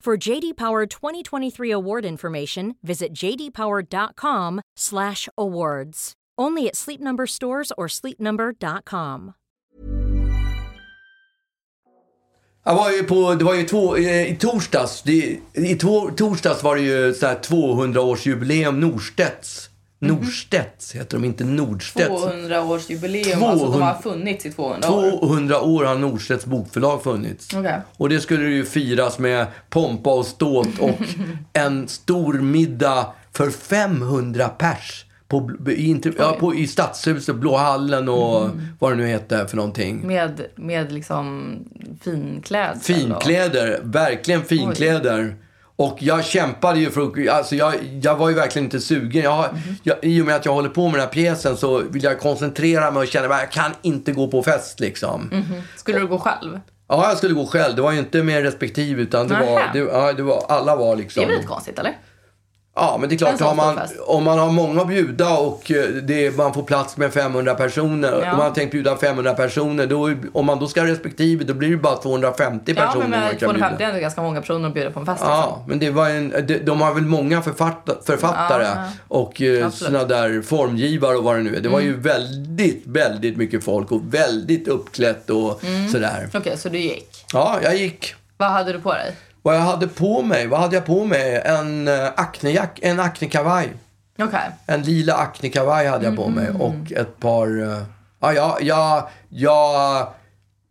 [SPEAKER 3] For JD Power 2023 award information, visit jdpower.com/awards. Only at Sleep Number stores or sleepnumber.com.
[SPEAKER 2] Jag var ju på, det var ju två, eh, i torsdags, det, i to, torsdags var det ju så här 200-årsjubileum Norstedts. Norstedts heter de, inte Nordstedts.
[SPEAKER 1] 200-årsjubileum.
[SPEAKER 2] 200
[SPEAKER 1] Alltså de har funnits i 200 år.
[SPEAKER 2] 200 år har Norstedts bokförlag funnits.
[SPEAKER 1] Okej.
[SPEAKER 2] Och det skulle ju firas med pompa och ståt och en stor middag för 500 pers. På, bl- i, inte, ja, på, I Stadshuset, Blåhallen och vad det nu heter för någonting.
[SPEAKER 1] Med, med liksom finklädsel.
[SPEAKER 2] Finkläder, verkligen finkläder. Och jag kämpade ju för att, alltså jag, jag var ju verkligen inte sugen. Jag, jag, I och med att jag håller på med den här pjäsen så vill jag koncentrera mig och känna att jag kan inte gå på fest liksom.
[SPEAKER 1] Och, skulle du gå själv?
[SPEAKER 2] Ja, jag skulle gå själv. Det var ju inte med respektive utan det var,
[SPEAKER 1] Nähä.
[SPEAKER 2] det, ja, det var, alla var liksom.
[SPEAKER 1] Det är väl lite konstigt eller?
[SPEAKER 2] Ja, men det är klart,
[SPEAKER 1] En sån
[SPEAKER 2] har man,
[SPEAKER 1] stor fest.
[SPEAKER 2] om man har många att bjuda och eh, det är, man får plats med 500 personer.
[SPEAKER 1] Ja.
[SPEAKER 2] Om man har tänkt bjuda 500 personer, då, om man då ska ha respektive, då blir det bara 250
[SPEAKER 1] Ja
[SPEAKER 2] personer
[SPEAKER 1] men
[SPEAKER 2] man
[SPEAKER 1] med
[SPEAKER 2] kan
[SPEAKER 1] 250
[SPEAKER 2] bjuda.
[SPEAKER 1] är ändå ganska många personer att bjuda på en fest. liksom.
[SPEAKER 2] Ja, men det var en, de, de har väl många författ, författare och eh,
[SPEAKER 1] Absolut. Mm.
[SPEAKER 2] såna där formgivare och vad det nu är. Det var ju väldigt, väldigt mycket folk och väldigt uppklätt och
[SPEAKER 1] Mm.
[SPEAKER 2] sådär.
[SPEAKER 1] liksom. Okej så du gick.
[SPEAKER 2] Ja, jag gick.
[SPEAKER 1] Vad hade du på dig?
[SPEAKER 2] Vad jag hade på mig? Vad hade jag på mig? En eh, aknejack, en aknekavaj.
[SPEAKER 1] Okej.
[SPEAKER 2] En lila
[SPEAKER 1] Mm,
[SPEAKER 2] aknekavaj hade jag på mig och ett par... eh, Ja, jag, jag, jag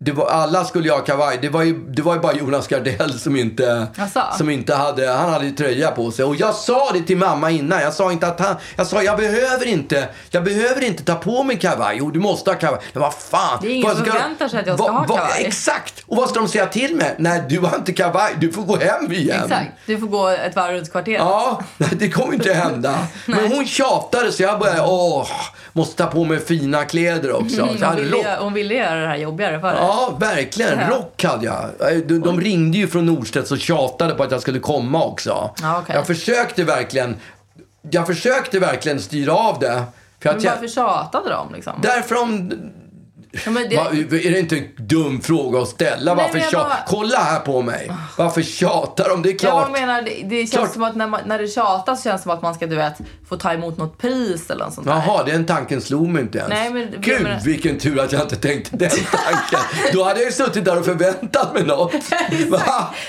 [SPEAKER 2] det var, alla skulle ju ha kavaj. Det var ju, det var ju bara Jonas Gardell som inte,
[SPEAKER 1] Jaså?
[SPEAKER 2] som inte hade, han hade ju tröja på sig. Och jag sa det till mamma innan. Jag sa inte att han, jag sa jag behöver inte, jag behöver inte ta på mig kavaj. Jo, du måste ha kavaj. Men vad fan.
[SPEAKER 1] Det är ingen
[SPEAKER 2] vad
[SPEAKER 1] som
[SPEAKER 2] ska-
[SPEAKER 1] förväntar sig att jag ska
[SPEAKER 2] vad-
[SPEAKER 1] ha
[SPEAKER 2] vad-
[SPEAKER 1] kavaj.
[SPEAKER 2] Exakt! Och vad ska de säga till mig? Nej, du har inte kavaj. Du får gå hem igen.
[SPEAKER 1] Exakt. Du får gå ett varv runt kvarteret.
[SPEAKER 2] Ja, nej, det kommer inte hända. Men hon tjatade så jag började, åh, måste ta på mig fina kläder också. Så jag
[SPEAKER 1] Hon
[SPEAKER 2] hade
[SPEAKER 1] ville,
[SPEAKER 2] rock.
[SPEAKER 1] gö- hon ville göra Mm. det här jobbigare för dig.
[SPEAKER 2] Ja, verkligen.
[SPEAKER 1] Ja.
[SPEAKER 2] Rock hade jag. De, de ringde ju från Norstedts och tjatade på att jag skulle komma också.
[SPEAKER 1] Ja, okej.
[SPEAKER 2] Jag försökte verkligen, jag försökte verkligen styra av det. För
[SPEAKER 1] Men
[SPEAKER 2] att jag,
[SPEAKER 1] varför tjatade de liksom?
[SPEAKER 2] Därför om...
[SPEAKER 1] Ja, men det-
[SPEAKER 2] Va, är det inte en dum fråga att ställa?
[SPEAKER 1] Nej,
[SPEAKER 2] Varför
[SPEAKER 1] men jag
[SPEAKER 2] tja-
[SPEAKER 1] bara- Ah.
[SPEAKER 2] Kolla här på mig. Varför tjatar de? Det är
[SPEAKER 1] Jag
[SPEAKER 2] klart.
[SPEAKER 1] bara menar, det, det känns
[SPEAKER 2] Klart.
[SPEAKER 1] som att när, man, när det tjatas så känns det som att man ska du vet, få ta emot något pris eller något sånt där.
[SPEAKER 2] Jaha, den tanken slog mig inte ens.
[SPEAKER 1] Nej, men- jag
[SPEAKER 2] Gud,
[SPEAKER 1] menar-
[SPEAKER 2] vilken tur att jag inte tänkte den tanken. Då hade jag ju suttit där och förväntat mig något. Va?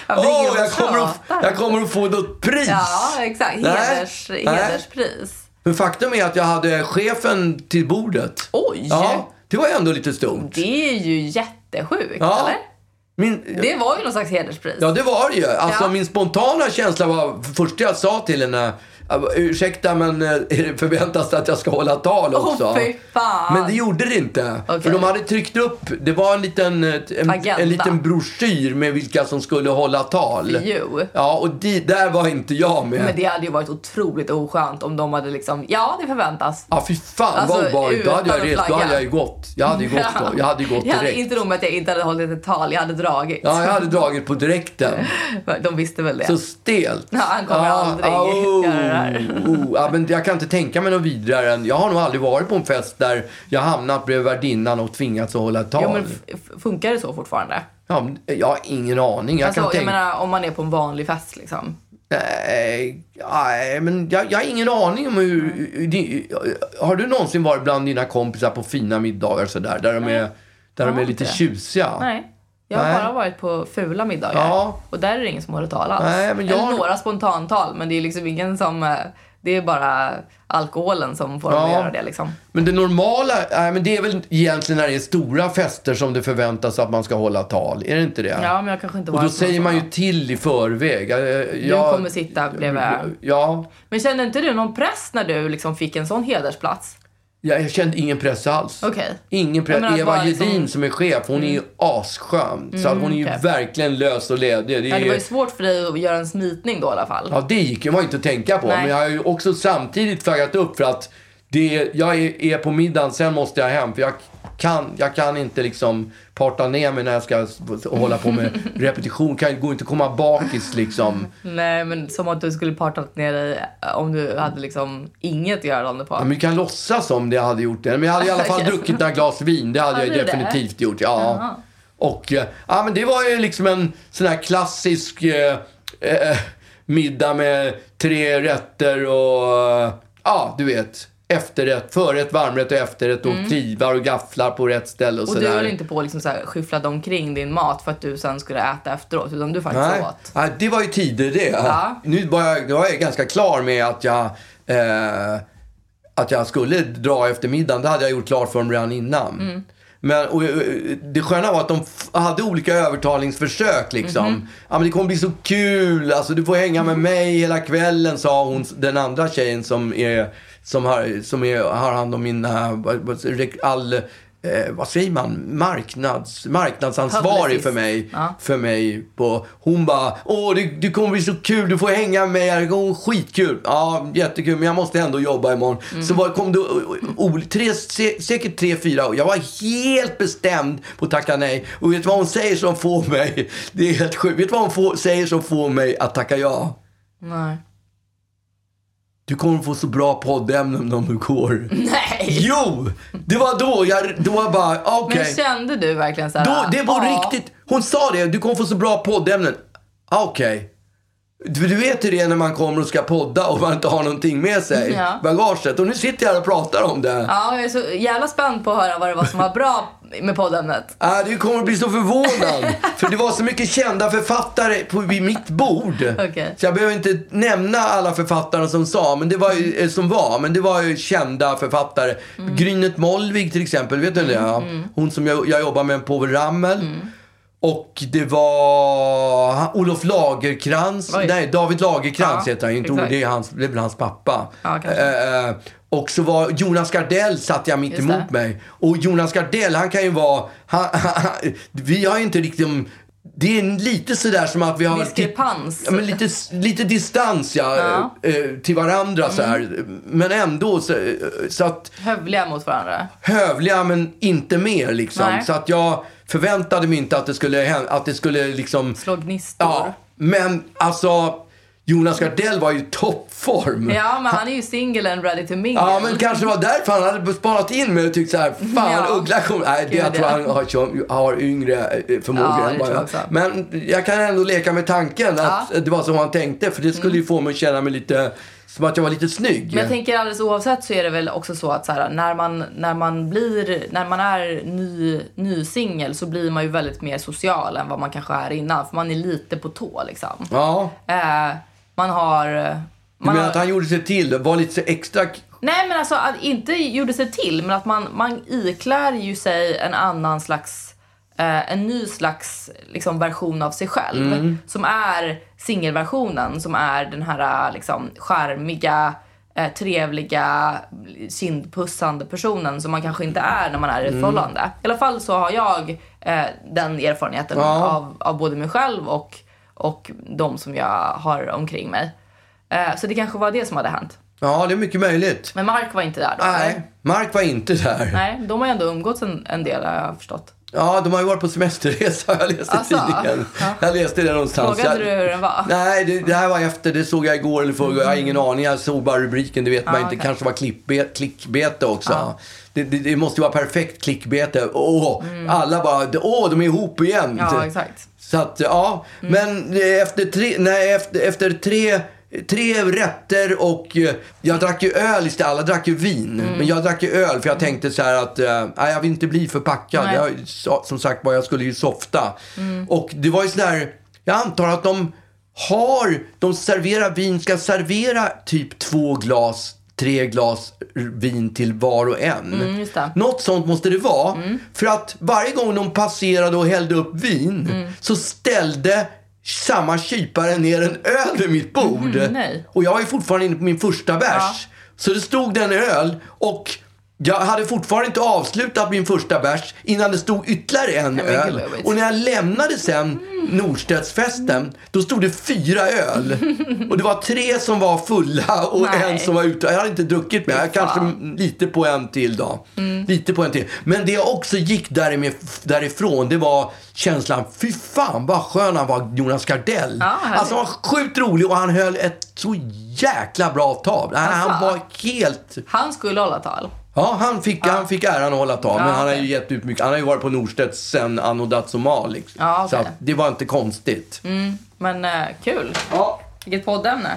[SPEAKER 1] Varför ringer
[SPEAKER 2] Åh,
[SPEAKER 1] de och
[SPEAKER 2] jag, kommer att,
[SPEAKER 1] tjatar?
[SPEAKER 2] jag kommer att få något pris.
[SPEAKER 1] Ja, exakt.
[SPEAKER 2] Nej.
[SPEAKER 1] Heders,
[SPEAKER 2] Nej.
[SPEAKER 1] hederspris.
[SPEAKER 2] Men faktum är att jag hade chefen till bordet.
[SPEAKER 1] Oj!
[SPEAKER 2] Ja, det var ju ändå lite stumt.
[SPEAKER 1] Det är ju jättesjukt,
[SPEAKER 2] Ja.
[SPEAKER 1] eller?
[SPEAKER 2] Min,
[SPEAKER 1] Det var ju någon slags hederspris.
[SPEAKER 2] Ja, det var det ju. Alltså,
[SPEAKER 1] Ja.
[SPEAKER 2] Min spontana känsla var, först jag sa till henne, ursäkta men eh, är det förväntas det att jag ska hålla tal
[SPEAKER 1] Åh,
[SPEAKER 2] också?
[SPEAKER 1] fy fan.
[SPEAKER 2] Men det gjorde det inte.
[SPEAKER 1] Okej.
[SPEAKER 2] För de hade tryckt upp, det var en liten, eh, en,
[SPEAKER 1] Agenda.
[SPEAKER 2] en liten broschyr med vilka som skulle hålla tal.
[SPEAKER 1] Jo.
[SPEAKER 2] Ja, och de, där var inte jag med.
[SPEAKER 1] Men det hade ju varit otroligt oskönt om de hade liksom, ja det förväntas.
[SPEAKER 2] Ja, fy fan
[SPEAKER 1] Alltså,
[SPEAKER 2] vad obehagligt. Då hade jag
[SPEAKER 1] utan
[SPEAKER 2] rest, då
[SPEAKER 1] flagga.
[SPEAKER 2] hade jag ju gått. Jag hade ju gått då. Jag hade ju gått
[SPEAKER 1] Jag hade
[SPEAKER 2] direkt.
[SPEAKER 1] inte nog med att jag inte hade hållit ett tal, jag hade dragit.
[SPEAKER 2] Ja, jag hade dragit på direkten.
[SPEAKER 1] De visste väl det.
[SPEAKER 2] Så stelt.
[SPEAKER 1] Ja, han kommer aldrig
[SPEAKER 2] oh,
[SPEAKER 1] göra det här.
[SPEAKER 2] oh. ja, men jag kan inte tänka mig något vidare än... Jag har nog aldrig varit på en fest där jag hamnat bredvid värdinnan och tvingats att hålla ett tal.
[SPEAKER 1] Jo, men f- f- funkar det så fortfarande?
[SPEAKER 2] Ja, men jag har ingen aning. Jag
[SPEAKER 1] Alltså,
[SPEAKER 2] kan
[SPEAKER 1] jag
[SPEAKER 2] tänka...
[SPEAKER 1] menar om man är på en vanlig fest liksom.
[SPEAKER 2] Nej, nej, men jag, jag har ingen aning om hur... det- Har du någonsin varit bland dina kompisar på fina middagar sådär? Där de är, där de är
[SPEAKER 1] har
[SPEAKER 2] lite
[SPEAKER 1] inte.
[SPEAKER 2] tjusiga?
[SPEAKER 1] Nej. Jag har
[SPEAKER 2] Nej.
[SPEAKER 1] bara varit på fula middagar.
[SPEAKER 2] Ja.
[SPEAKER 1] Och där är det ingen som håller tal alls.
[SPEAKER 2] Nej, men jag-
[SPEAKER 1] Eller några spontantal, men det är liksom ingen som... eh, Det är bara alkoholen som får dem
[SPEAKER 2] Ja.
[SPEAKER 1] att göra det liksom.
[SPEAKER 2] Men det normala, nej, men det är väl egentligen när det är stora fester som det förväntas att man ska hålla tal. Är det inte det?
[SPEAKER 1] Ja, men jag kanske inte
[SPEAKER 2] Och
[SPEAKER 1] varit
[SPEAKER 2] då
[SPEAKER 1] på
[SPEAKER 2] säger
[SPEAKER 1] någon
[SPEAKER 2] man ju
[SPEAKER 1] sån.
[SPEAKER 2] till i förväg. Jag,
[SPEAKER 1] Du kommer sitta bredvid.
[SPEAKER 2] Ja,
[SPEAKER 1] Men kände inte du någon press när du liksom fick en sån hedersplats?
[SPEAKER 2] jag, jag kände ingen press alls.
[SPEAKER 1] Okej.
[SPEAKER 2] Ingen press.
[SPEAKER 1] Jag menar att
[SPEAKER 2] Eva
[SPEAKER 1] bara liksom- Mm.
[SPEAKER 2] Gedin som är chef, hon är ju asskön. så att hon är ju
[SPEAKER 1] okej.
[SPEAKER 2] verkligen lös och ledig. Det
[SPEAKER 1] Ja,
[SPEAKER 2] är
[SPEAKER 1] det var ju
[SPEAKER 2] ju...
[SPEAKER 1] svårt för dig att göra en smitning då i alla fall.
[SPEAKER 2] Ja, det gick ju var ju inte att tänka på.
[SPEAKER 1] Nej.
[SPEAKER 2] Men jag har ju också samtidigt flaggat upp för att det, jag är, är på middagen, sen måste jag hem. För jag kan, jag kan inte liksom parta ner mig när jag ska hålla på med repetition. Kan, går inte att komma bakis liksom.
[SPEAKER 1] Nej, men som att du skulle partat ner dig eh, om du hade liksom inget att göra dagen därpå.
[SPEAKER 2] Ja, men vi kan låtsas som det jag hade gjort det. Men jag hade i alla fall
[SPEAKER 1] Okej.
[SPEAKER 2] druckit några glas vin. Det hade
[SPEAKER 1] Hade
[SPEAKER 2] jag
[SPEAKER 1] du det?
[SPEAKER 2] definitivt gjort. Ja. Och eh, ja, men det var ju liksom en sån här klassisk eh, eh, middag med tre rätter och eh, ja, du vet. Efterrätt, förrätt, varmrätt och efterrätt och knivar och gafflar på rätt ställe och,
[SPEAKER 1] Mm. Och du
[SPEAKER 2] sådär.
[SPEAKER 1] höll inte på att liksom så här skyfflade omkring din mat för att du sen skulle äta efteråt, utan du faktiskt
[SPEAKER 2] Nej.
[SPEAKER 1] åt.
[SPEAKER 2] Nej, det var ju tider det.
[SPEAKER 1] Ja.
[SPEAKER 2] Nu var jag, då var jag ganska klar med att jag, eh, att jag skulle dra efter middagen. Det hade jag gjort klart för dem redan innan.
[SPEAKER 1] Mm.
[SPEAKER 2] Men och, eh, det sköna var att de f- hade olika övertalningsförsök. Liksom.
[SPEAKER 1] Mhm.
[SPEAKER 2] Ja, men det kommer bli så kul. Alltså, du får hänga med mig hela kvällen, sa hon, den andra tjejen som, är, som, har, som är, har hand om min... eh, vad- vad- rek- all, eh, vad säger man? Marknads, marknadsansvarig
[SPEAKER 1] Publicist.
[SPEAKER 2] för mig
[SPEAKER 1] Ja.
[SPEAKER 2] för mig. På, hon bara, åh det, det kommer bli så kul, du får hänga med här, det kommer bli skitkul. Ja, jättekul, men jag måste ändå jobba imorgon.
[SPEAKER 1] Mm.
[SPEAKER 2] Så var, kom det o, o, tre, se, säkert tre, fyra och jag var helt bestämd på att tacka nej. Och vet du vad hon säger som får mig, det är helt sjukt, vet du vad hon får, säger som får mig att tacka ja?
[SPEAKER 1] Nej.
[SPEAKER 2] Du kommer få så bra poddämnen om du går.
[SPEAKER 1] Nej!
[SPEAKER 2] Jo! Det var då jag, då jag bara, okej.
[SPEAKER 1] Men kände du verkligen så här... "Ah,
[SPEAKER 2] Då, det var
[SPEAKER 1] ja.
[SPEAKER 2] riktigt. Hon sa det. Du kommer få så bra poddämnen. Ah, Okej. Du, du vet hur det är när man kommer och ska podda och man inte har någonting med sig.
[SPEAKER 1] Ja.
[SPEAKER 2] Bagaget. Och nu sitter jag här och pratar om det.
[SPEAKER 1] Ja, jag är så jävla spänd på att höra vad det var som var bra med poddämnet.
[SPEAKER 2] Ah, du kommer bli så förvånad. för det var så mycket kända författare på, vid mitt bord.
[SPEAKER 1] Okej.
[SPEAKER 2] Så jag behöver inte nämna alla författare som, sa, men det var, ju- eh, som var, men det var ju kända författare.
[SPEAKER 1] Mm.
[SPEAKER 2] Grynet Molvig till exempel, vet du det? Ja. Hon som jag, jag jobbar med, Povel Ramel.
[SPEAKER 1] Mm.
[SPEAKER 2] Och det var han- Olof Lagerkrans.
[SPEAKER 1] Oj.
[SPEAKER 2] Nej, David Lagerkrans
[SPEAKER 1] Ja,
[SPEAKER 2] heter han ju inte.
[SPEAKER 1] exakt.
[SPEAKER 2] Olof, Det är, hans, det är väl hans pappa.
[SPEAKER 1] Ja, kanske.
[SPEAKER 2] Eh, eh, och så var Jonas Gardell satt jag mitt
[SPEAKER 1] Just
[SPEAKER 2] emot
[SPEAKER 1] det.
[SPEAKER 2] mig. Och Jonas Gardell, han kan ju vara... Han, vi har ju inte riktigt... Det är lite sådär som att vi har...
[SPEAKER 1] Diskrepans.
[SPEAKER 2] Ja, men lite, lite distans ja,
[SPEAKER 1] Ja.
[SPEAKER 2] eh, till varandra så här. Men ändå så, eh, så att
[SPEAKER 1] Hövliga mot varandra.
[SPEAKER 2] hövliga men inte mer liksom.
[SPEAKER 1] Nej.
[SPEAKER 2] Så att jag förväntade mig inte att det skulle hända, att det skulle liksom...
[SPEAKER 1] Slå gnistor.
[SPEAKER 2] Ja, men alltså Jonas Gardell var ju i toppform.
[SPEAKER 1] Ja, men han är ju singel and ready to mingle.
[SPEAKER 2] Ja, men kanske var därför han hade spanat in mig och tyckt så här, fan
[SPEAKER 1] Ja.
[SPEAKER 2] Uggla kommer... Nej, det, jag
[SPEAKER 1] Gud,
[SPEAKER 2] tror
[SPEAKER 1] ja.
[SPEAKER 2] han har, kör- har yngre eh, förmågor
[SPEAKER 1] Ja, det
[SPEAKER 2] än
[SPEAKER 1] tror
[SPEAKER 2] vad
[SPEAKER 1] jag
[SPEAKER 2] jag
[SPEAKER 1] också.
[SPEAKER 2] Men jag kan ändå leka med tanken att
[SPEAKER 1] Ja.
[SPEAKER 2] det var så han tänkte, för det skulle ju få mig att känna mig lite, som att jag var lite snygg.
[SPEAKER 1] Men jag tänker alldeles oavsett så är det väl också så att så här, när, man, när man blir, när man är ny, ny singel så blir man ju väldigt mer social än vad man kanske är innan. För man är lite på tå liksom.
[SPEAKER 2] Ja,
[SPEAKER 1] Eh, man har...
[SPEAKER 2] du
[SPEAKER 1] Man
[SPEAKER 2] menar
[SPEAKER 1] har-
[SPEAKER 2] att han gjorde sig till, var lite så extra...
[SPEAKER 1] Nej men alltså att inte gjorde sig till men att man, man iklär ju sig en annan slags, eh, en ny slags liksom, version av sig själv. Som är singelversionen, som är den här eh, liksom charmiga, eh, trevliga, kindpussande personen som man kanske inte är när man är i ett förhållande. I alla fall så har jag eh, den erfarenheten
[SPEAKER 2] Ja.
[SPEAKER 1] av, av både mig själv och, och de som jag har omkring mig. Eh, så det kanske var det som hade hänt.
[SPEAKER 2] Ja, det är mycket möjligt.
[SPEAKER 1] Men Mark var inte där då?
[SPEAKER 2] Nej,
[SPEAKER 1] eller?
[SPEAKER 2] Mark var inte där.
[SPEAKER 1] Nej, de har ju ändå umgåtts en, en del har jag förstått.
[SPEAKER 2] Ja, de har ju varit på semesterresa har jag läste
[SPEAKER 1] Alltså,
[SPEAKER 2] tidningen.
[SPEAKER 1] ja.
[SPEAKER 2] Jag läste det någonstans.
[SPEAKER 1] Frågade
[SPEAKER 2] jag,
[SPEAKER 1] du hur den var? Mm.
[SPEAKER 2] Nej, det, det här var efter. Det såg jag igår eller förrgår. Jag har ingen aning. Jag såg bara rubriken. Det vet man inte.
[SPEAKER 1] Ah, okej. Ah.
[SPEAKER 2] kanske var klickbe, klickbete också. Det, det, det måste ju vara perfekt klickbete. Åh, alla bara, åh, de är ihop igen.
[SPEAKER 1] Mm. Ja, exakt. Mm.
[SPEAKER 2] Så att, ja. Men eh, efter tre, nej, efter, efter tre, tre rätter och eh, jag drack ju öl istället. Alla drack ju vin.
[SPEAKER 1] Mm.
[SPEAKER 2] Men jag drack ju öl för jag tänkte så här att eh, nej, jag vill inte bli förpackad.
[SPEAKER 1] Nej. Mm.
[SPEAKER 2] Jag, sa- som sagt var, jag skulle ju softa. Och det var ju sån där, jag antar att de har, de serverar vin, ska servera typ två glas, tre glas vin till var och en.
[SPEAKER 1] Mm, just det.
[SPEAKER 2] Något sånt måste det vara.
[SPEAKER 1] Mm.
[SPEAKER 2] För att varje gång de passerade och hällde upp vin
[SPEAKER 1] Mm.
[SPEAKER 2] så ställde samma kypare ner en öl vid mitt bord.
[SPEAKER 1] Mm, nej.
[SPEAKER 2] och jag är fortfarande inne på min första bärs. Så det stod den öl och jag hade fortfarande inte avslutat min första bärs innan det stod ytterligare en
[SPEAKER 1] men gud,
[SPEAKER 2] öl.
[SPEAKER 1] vad jobbigt.
[SPEAKER 2] Och när jag lämnade sen Norstedtsfesten, då stod det fyra öl. Och det var tre som var fulla och
[SPEAKER 1] Nej.
[SPEAKER 2] en som var ute. Jag hade inte druckit mer. Jag kanske lite på en till då.
[SPEAKER 1] Mm.
[SPEAKER 2] Lite på en till. Men det jag också gick därime- därifrån, det var känslan, fy fan vad skön han var, Jonas Gardell.
[SPEAKER 1] härligt.
[SPEAKER 2] alltså han var sjukt rolig och han höll ett så jäkla bra tal. Nej, Han
[SPEAKER 1] Alltså.
[SPEAKER 2] var helt...
[SPEAKER 1] Han skulle hålla tal.
[SPEAKER 2] Ja, han fick, Han fick äran att hålla tal. men han har ju
[SPEAKER 1] okej.
[SPEAKER 2] gett ut mycket. Han har ju varit på Norstedts sen anno dazumal. Liksom.
[SPEAKER 1] Ja, okej.
[SPEAKER 2] Så att det var inte konstigt.
[SPEAKER 1] Men eh, kul.
[SPEAKER 2] Ja.
[SPEAKER 1] Vilket poddämne.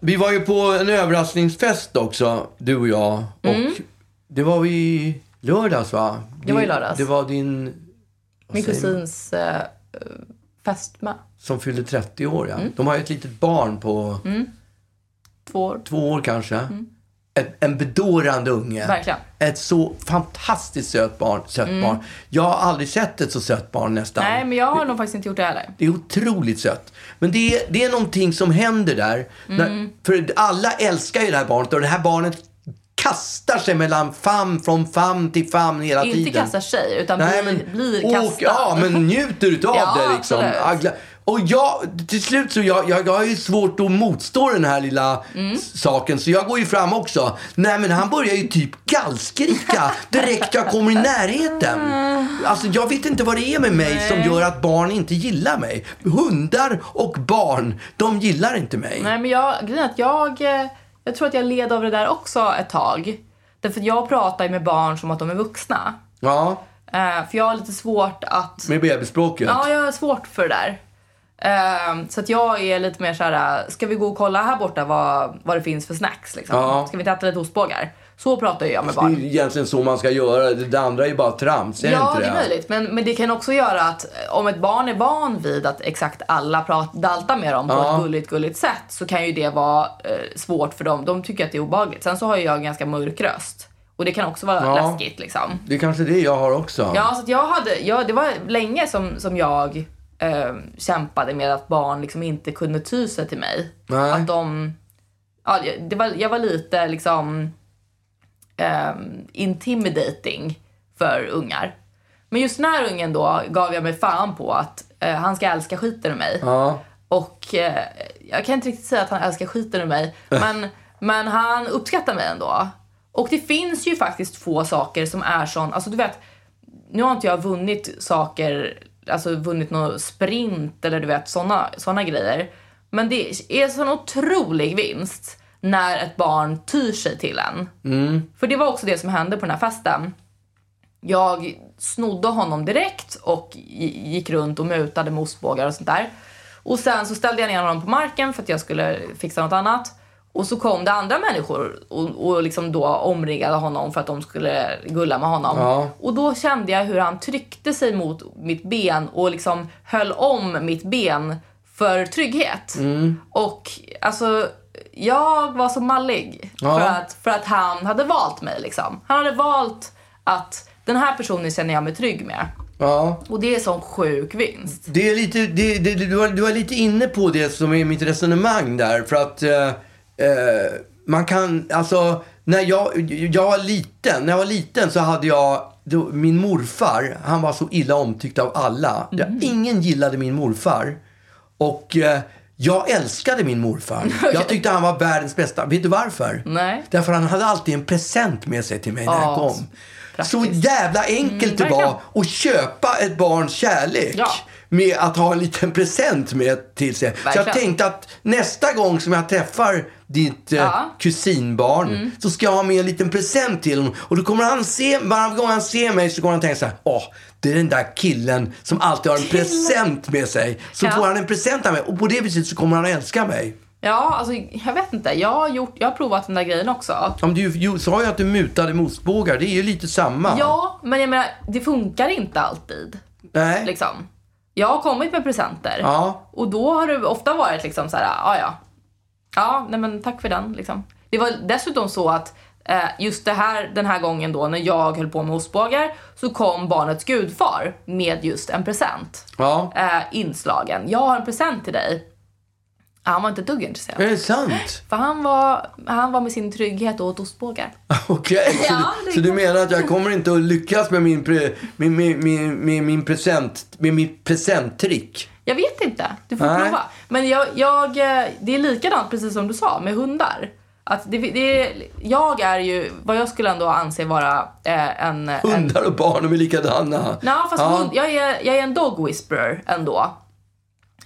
[SPEAKER 2] Vi var ju på en överraskningsfest också, du och jag. Och det var vi lördags va?
[SPEAKER 1] Mm. Det var i
[SPEAKER 2] Din-
[SPEAKER 1] lördags.
[SPEAKER 2] Det var din
[SPEAKER 1] Min kusins eh, fästmö.
[SPEAKER 2] Som fyllde 30 år, ja.
[SPEAKER 1] Mm.
[SPEAKER 2] De har ju ett litet barn på
[SPEAKER 1] Två år.
[SPEAKER 2] två år kanske. Ett, en bedårande unge.
[SPEAKER 1] Mm. Verkligen. Mm.
[SPEAKER 2] Ett så fantastiskt sött barn. Sött barn. Jag har aldrig sett ett så sött barn nästan.
[SPEAKER 1] Nej, men jag har nog faktiskt inte gjort det heller.
[SPEAKER 2] Det är otroligt sött. Men det är, det är någonting som händer där.
[SPEAKER 1] Mm.
[SPEAKER 2] När, för alla älskar ju det här barnet och det här barnet kastar sig mellan famn, från famn till famn hela
[SPEAKER 1] Inte
[SPEAKER 2] tiden.
[SPEAKER 1] kastar sig, utan blir, blir
[SPEAKER 2] och-
[SPEAKER 1] kastad.
[SPEAKER 2] Ja, men njuter utav
[SPEAKER 1] Ja,
[SPEAKER 2] det liksom.
[SPEAKER 1] absolut.
[SPEAKER 2] Agla- Och jag, till slut så jag, jag, jag har ju svårt att motstå den här lilla
[SPEAKER 1] Mm.
[SPEAKER 2] s- saken så jag går ju fram också. Nej men han börjar ju typ gallskrika direkt jag kommer i närheten.
[SPEAKER 1] Ah.
[SPEAKER 2] Alltså jag vet inte vad det är med mig som gör att barn inte gillar mig. Hundar och barn, de gillar inte mig.
[SPEAKER 1] Nej, men jag, grejen är att jag, eh, jag tror att jag led av det där också ett tag. Därför att jag pratar ju med barn som att de är vuxna.
[SPEAKER 2] Ja,
[SPEAKER 1] Eh, för jag har lite svårt att...
[SPEAKER 2] med bebisspråket.
[SPEAKER 1] Ja, jag har svårt för det där. Eh, så att jag är lite mer såhär, ska vi gå och kolla här borta vad, vad det finns för snacks liksom?
[SPEAKER 2] Ja.
[SPEAKER 1] Ska vi inte äta lite ostbågar? Så pratar ju jag med
[SPEAKER 2] Det är
[SPEAKER 1] barn.
[SPEAKER 2] ju egentligen så man ska göra. Det det andra är ju bara trams, är
[SPEAKER 1] Ja,
[SPEAKER 2] inte
[SPEAKER 1] det är möjligt. Men, men det kan också göra att eh, om ett barn är van vid att exakt alla prat, daltar med dem på
[SPEAKER 2] Ja.
[SPEAKER 1] ett gulligt, gulligt sätt så kan ju det vara eh, svårt för dem. De tycker att det är obehagligt. Sen så har ju jag en ganska mörk röst och det kan också vara
[SPEAKER 2] Ja.
[SPEAKER 1] läskigt liksom.
[SPEAKER 2] Det är kanske det jag har också.
[SPEAKER 1] Ja, så att jag hade, jag, det var länge som, som jag eh, kämpade med att barn liksom inte kunde ty sig till mig.
[SPEAKER 2] Nej.
[SPEAKER 1] Att de, ja, det var, jag var lite liksom eh, intimidating för ungar. Men just den här ungen då gav jag mig fan på att eh, han ska älska skiten ur mig.
[SPEAKER 2] Ja.
[SPEAKER 1] Och eh, jag kan inte riktigt säga att han älskar skiten ur mig.
[SPEAKER 2] Äh.
[SPEAKER 1] Men, men han uppskattar mig ändå. Och det finns ju faktiskt få saker som är sån, alltså du vet, nu har inte jag vunnit saker, alltså vunnit någon sprint eller du vet såna, såna grejer. Men det är sån otrolig vinst när ett barn tyr sig till en. För det var också det som hände på den här festen. Jag snodde honom direkt och gi- gick runt och mutade med ostbågar och sånt där. Och sen så ställde jag ner honom på marken för att jag skulle fixa något annat. Och så kom det andra människor och, och liksom då omringade honom för att de skulle gulla med honom.
[SPEAKER 2] Ja.
[SPEAKER 1] Och då kände jag hur han tryckte sig mot mitt ben och liksom höll om mitt ben för trygghet. Och alltså, jag var så mallig
[SPEAKER 2] Ja.
[SPEAKER 1] för, att, för att han hade valt mig liksom. Han hade valt att den här personen känner jag mig trygg med.
[SPEAKER 2] ja.
[SPEAKER 1] Och det är sån sjuk vinst.
[SPEAKER 2] Det är lite, det, det, du, var, du var lite inne på det som är mitt resonemang där. För att eh, eh, man kan, alltså, när jag, jag var liten, när jag var liten så hade jag, då, min morfar, han var så illa omtyckt av alla. Jag, ingen gillade min morfar. Och eh, jag älskade min morfar. Jag tyckte han var världens bästa. Vet du varför?
[SPEAKER 1] Nej.
[SPEAKER 2] Därför han hade alltid en present med sig till mig när jag
[SPEAKER 1] Ja,
[SPEAKER 2] kom. Så
[SPEAKER 1] praktiskt. Mm,
[SPEAKER 2] jävla enkelt det var
[SPEAKER 1] verkligen.
[SPEAKER 2] att köpa ett barns kärlek
[SPEAKER 1] Ja.
[SPEAKER 2] med att ha en liten present med till sig. Så jag
[SPEAKER 1] Verkligen.
[SPEAKER 2] tänkte att nästa gång som jag träffar ditt eh,
[SPEAKER 1] Ja. Mm.
[SPEAKER 2] kusinbarn så ska jag ha med en liten present till honom. Och då kommer han se, varje gång han ser mig så kommer han tänka så här, åh, det är den där killen som alltid har en present med sig. Så
[SPEAKER 1] Ja.
[SPEAKER 2] får han en present av mig och på det viset så kommer han att älska mig.
[SPEAKER 1] Ja, alltså jag vet inte. Jag har, gjort, jag har provat den där grejen också.
[SPEAKER 2] Ja, men du ju- sa ju att du mutade motbågar, det är ju lite samma.
[SPEAKER 1] Ja, men jag menar, det funkar inte alltid.
[SPEAKER 2] Nej.
[SPEAKER 1] Liksom. Jag har kommit med presenter.
[SPEAKER 2] Ja.
[SPEAKER 1] Och då har det ofta varit liksom så här, ja ja. Ja, nej men tack för den liksom. Det var dessutom så att eh, just det här, den här gången då när jag höll på med ostbågar så kom barnets gudfar med just en present.
[SPEAKER 2] Ja.
[SPEAKER 1] Eh, inslagen. Jag har en present till dig. Han var inte ett dugg intresserad.
[SPEAKER 2] Är det sant?
[SPEAKER 1] För han var, han var med sin trygghet och åt ostbågar.
[SPEAKER 2] Okej, så,
[SPEAKER 1] Ja,
[SPEAKER 2] du-
[SPEAKER 1] det
[SPEAKER 2] så du
[SPEAKER 1] kan-
[SPEAKER 2] menar att jag kommer inte att lyckas med min, pre, min, min, min, min, min present, med mitt presenttrick?
[SPEAKER 1] Jag vet inte. Du får
[SPEAKER 2] Nej.
[SPEAKER 1] prova. Men jag, jag, eh, det är likadant precis som du sa med hundar. Att det, det är, jag är ju vad jag skulle ändå anse vara eh, en... en
[SPEAKER 2] Hundar och barn, de är likadana.
[SPEAKER 1] Nej, fast
[SPEAKER 2] ja,
[SPEAKER 1] hund, jag, är, jag är en dog whisperer ändå.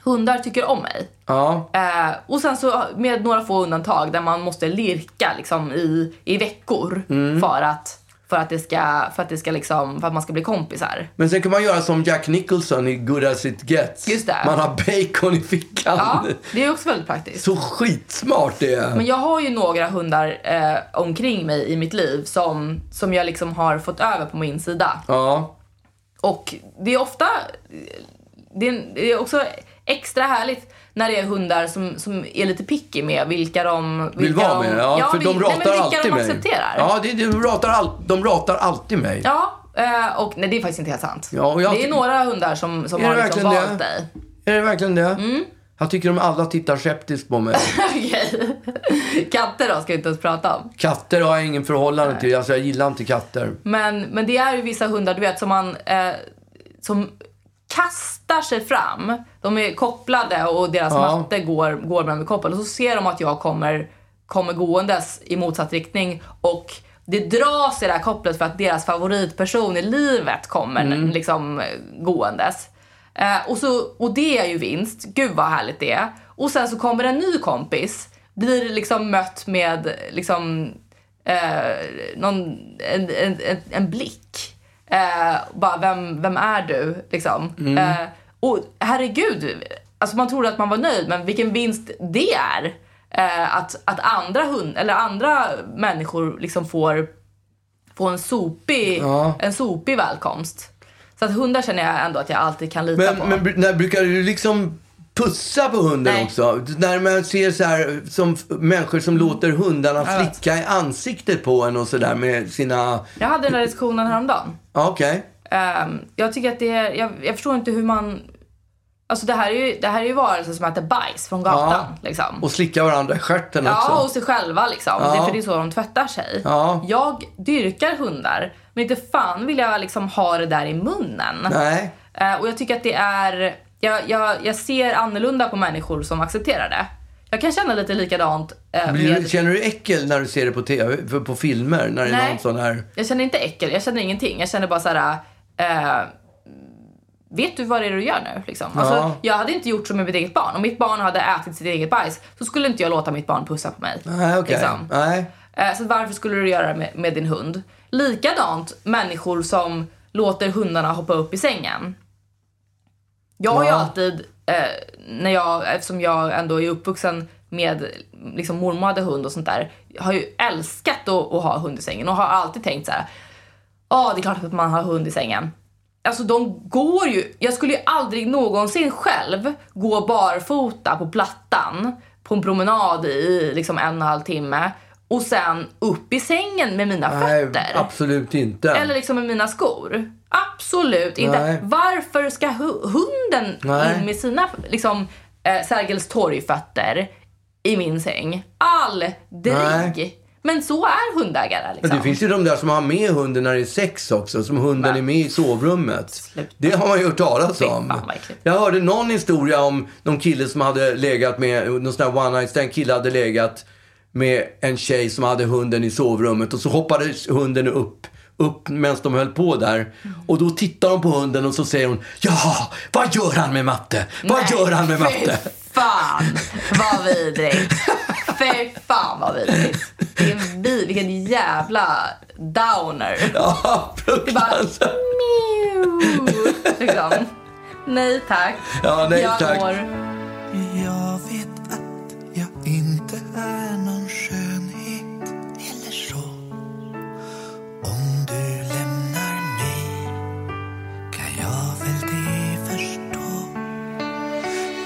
[SPEAKER 1] Hundar tycker om mig.
[SPEAKER 2] ja,
[SPEAKER 1] Eh, och sen så med några få undantag där man måste lirka liksom i, i veckor
[SPEAKER 2] Mm.
[SPEAKER 1] för att för att det ska, för att det ska liksom, för att man ska bli kompisar.
[SPEAKER 2] Men sen kan man göra som Jack Nicholson i Good As It Gets.
[SPEAKER 1] Just det.
[SPEAKER 2] Man har bacon i fickan.
[SPEAKER 1] Ja, det är också väldigt praktiskt.
[SPEAKER 2] Så skitsmart det är.
[SPEAKER 1] Men jag har ju några hundar eh, omkring mig i mitt liv som, som jag liksom har fått över på min sida.
[SPEAKER 2] Ja,
[SPEAKER 1] Och det är ofta, eh, det är, det är också extra härligt när det är hundar som, som är lite picky med vilka de... Vilka
[SPEAKER 2] Vill vara med?
[SPEAKER 1] de-
[SPEAKER 2] Ja, för de
[SPEAKER 1] vil- nej,
[SPEAKER 2] ratar
[SPEAKER 1] men vilka
[SPEAKER 2] alltid
[SPEAKER 1] de
[SPEAKER 2] mig.
[SPEAKER 1] accepterar.
[SPEAKER 2] Ja, det, de, ratar all, de ratar alltid mig.
[SPEAKER 1] Ja, eh, och nej det är faktiskt inte helt sant.
[SPEAKER 2] Ja, och jag-
[SPEAKER 1] det är några hundar som, som
[SPEAKER 2] Är
[SPEAKER 1] har
[SPEAKER 2] det
[SPEAKER 1] liksom
[SPEAKER 2] verkligen
[SPEAKER 1] valt
[SPEAKER 2] det?
[SPEAKER 1] dig.
[SPEAKER 2] Är det verkligen det?
[SPEAKER 1] Mm.
[SPEAKER 2] Jag tycker de alla tittar skeptiskt på mig.
[SPEAKER 1] Okej. Katter då, ska vi inte ens prata om.
[SPEAKER 2] Katter har jag ingen förhållande till. Alltså, jag gillar inte katter.
[SPEAKER 1] Men, men det är ju vissa hundar, du vet, som man... Eh, som kastar sig fram. De är kopplade och deras matte går, går med koppel. Och så ser de att jag kommer, kommer gåendes i motsatt riktning och det dras i det här kopplet för att deras favoritperson i livet kommer liksom eh, gåendes. Eh, och, så, och det är ju vinst. Gud vad härligt det är. Och sen så kommer en ny kompis. Blir liksom mött med liksom eh, någon, en, en, en, en blick. Eh, bara, vem, vem är du? Liksom.
[SPEAKER 2] Mm.
[SPEAKER 1] Eh, och herregud, alltså man trodde att man var nöjd, men vilken vinst det är. Eh, att, att andra hund, eller andra människor liksom får, får en, sopig, en sopig välkomst. Så att hundar känner jag ändå att jag alltid kan lita
[SPEAKER 2] Men,
[SPEAKER 1] på.
[SPEAKER 2] men br- när, brukar du liksom pussa på hunden
[SPEAKER 1] Nej.
[SPEAKER 2] också? När man ser så här, som f- människor som låter hundarna flicka i ansiktet på en och sådär med sina...
[SPEAKER 1] Jag hade den här diskussionen häromdagen.
[SPEAKER 2] Ja, Okej.
[SPEAKER 1] Ehm, jag tycker att det är, jag, jag förstår inte hur man... Alltså det här är ju, det här är ju varelser som äter bajs från gatan. Liksom.
[SPEAKER 2] Och slicka varandra i stjärten
[SPEAKER 1] Ja,
[SPEAKER 2] också.
[SPEAKER 1] och sig själva liksom. Det är för det är så de tvättar sig.
[SPEAKER 2] Ja.
[SPEAKER 1] Jag dyrkar hundar, men inte fan vill jag liksom ha det där i munnen.
[SPEAKER 2] Nej.
[SPEAKER 1] Eh, och jag tycker att det är... Jag, jag, jag ser annorlunda på människor som accepterar det. Jag kan känna lite likadant eh,
[SPEAKER 2] Blir du,
[SPEAKER 1] med...
[SPEAKER 2] känner du äckel när du ser det på TV, för- på filmer? När det är
[SPEAKER 1] Nej.
[SPEAKER 2] någon sån här...
[SPEAKER 1] Jag känner inte äckel, jag känner ingenting. Jag känner bara så här... eh, Vet du vad det är du gör nu? Liksom. Alltså,
[SPEAKER 2] Ja.
[SPEAKER 1] jag hade inte gjort så med mitt eget barn. Om mitt barn hade ätit sitt eget bajs så skulle inte jag låta mitt barn pussa på mig.
[SPEAKER 2] Nej, okej.
[SPEAKER 1] Liksom.
[SPEAKER 2] Nej.
[SPEAKER 1] Eh, Så varför skulle du göra det med, med din hund? Likadant människor som låter hundarna hoppa upp i sängen. Jag har ju alltid, eh, när jag, eftersom jag ändå är uppvuxen med liksom, mormor hade hund och sånt där, har ju älskat att, att ha hund i sängen och har alltid tänkt så här. Ja, det är klart att man har hund i sängen. Alltså de går ju, jag skulle ju aldrig någonsin själv gå barfota på plattan på en promenad i liksom en och en halv timme och sen upp i sängen med mina
[SPEAKER 2] Nej,
[SPEAKER 1] fötter.
[SPEAKER 2] absolut inte.
[SPEAKER 1] Eller liksom med mina skor. Absolut inte.
[SPEAKER 2] Nej.
[SPEAKER 1] Varför ska hu- hunden
[SPEAKER 2] Nej.
[SPEAKER 1] in med sina liksom, eh, Sergels torgfötter i min säng? Aldrig! Men så är hundägare liksom.
[SPEAKER 2] Men det finns ju de där som har med hunden när det är sex också, som hunden är med i sovrummet. Det har man ju hört talas om.
[SPEAKER 1] fan vad äckligt.
[SPEAKER 2] Jag hörde någon historia om någon kille som hade legat med, någon sån här one night stand kille hade legat med en tjej som hade hunden i sovrummet och så hoppade hunden upp upp medan de höll på där.
[SPEAKER 1] Mm.
[SPEAKER 2] Och då tittar de på hunden och så säger hon Jaha, vad gör han med matte? Vad gör han med matte?
[SPEAKER 1] Fy fan vad vidrigt. Fy fan vad vidrigt. Vilken, vi, vilken jävla downer.
[SPEAKER 2] Ja,
[SPEAKER 1] Det är bara
[SPEAKER 2] fruktansvärt.
[SPEAKER 1] miau. Liksom. Nej tack.
[SPEAKER 2] Ja, nej,
[SPEAKER 1] jag
[SPEAKER 2] tack.
[SPEAKER 1] Mår.
[SPEAKER 4] Jag vet att jag inte är någon skönhet eller så Om du lämnar mig kan jag väl det förstå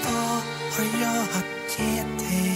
[SPEAKER 4] Vad har jag att ge dig?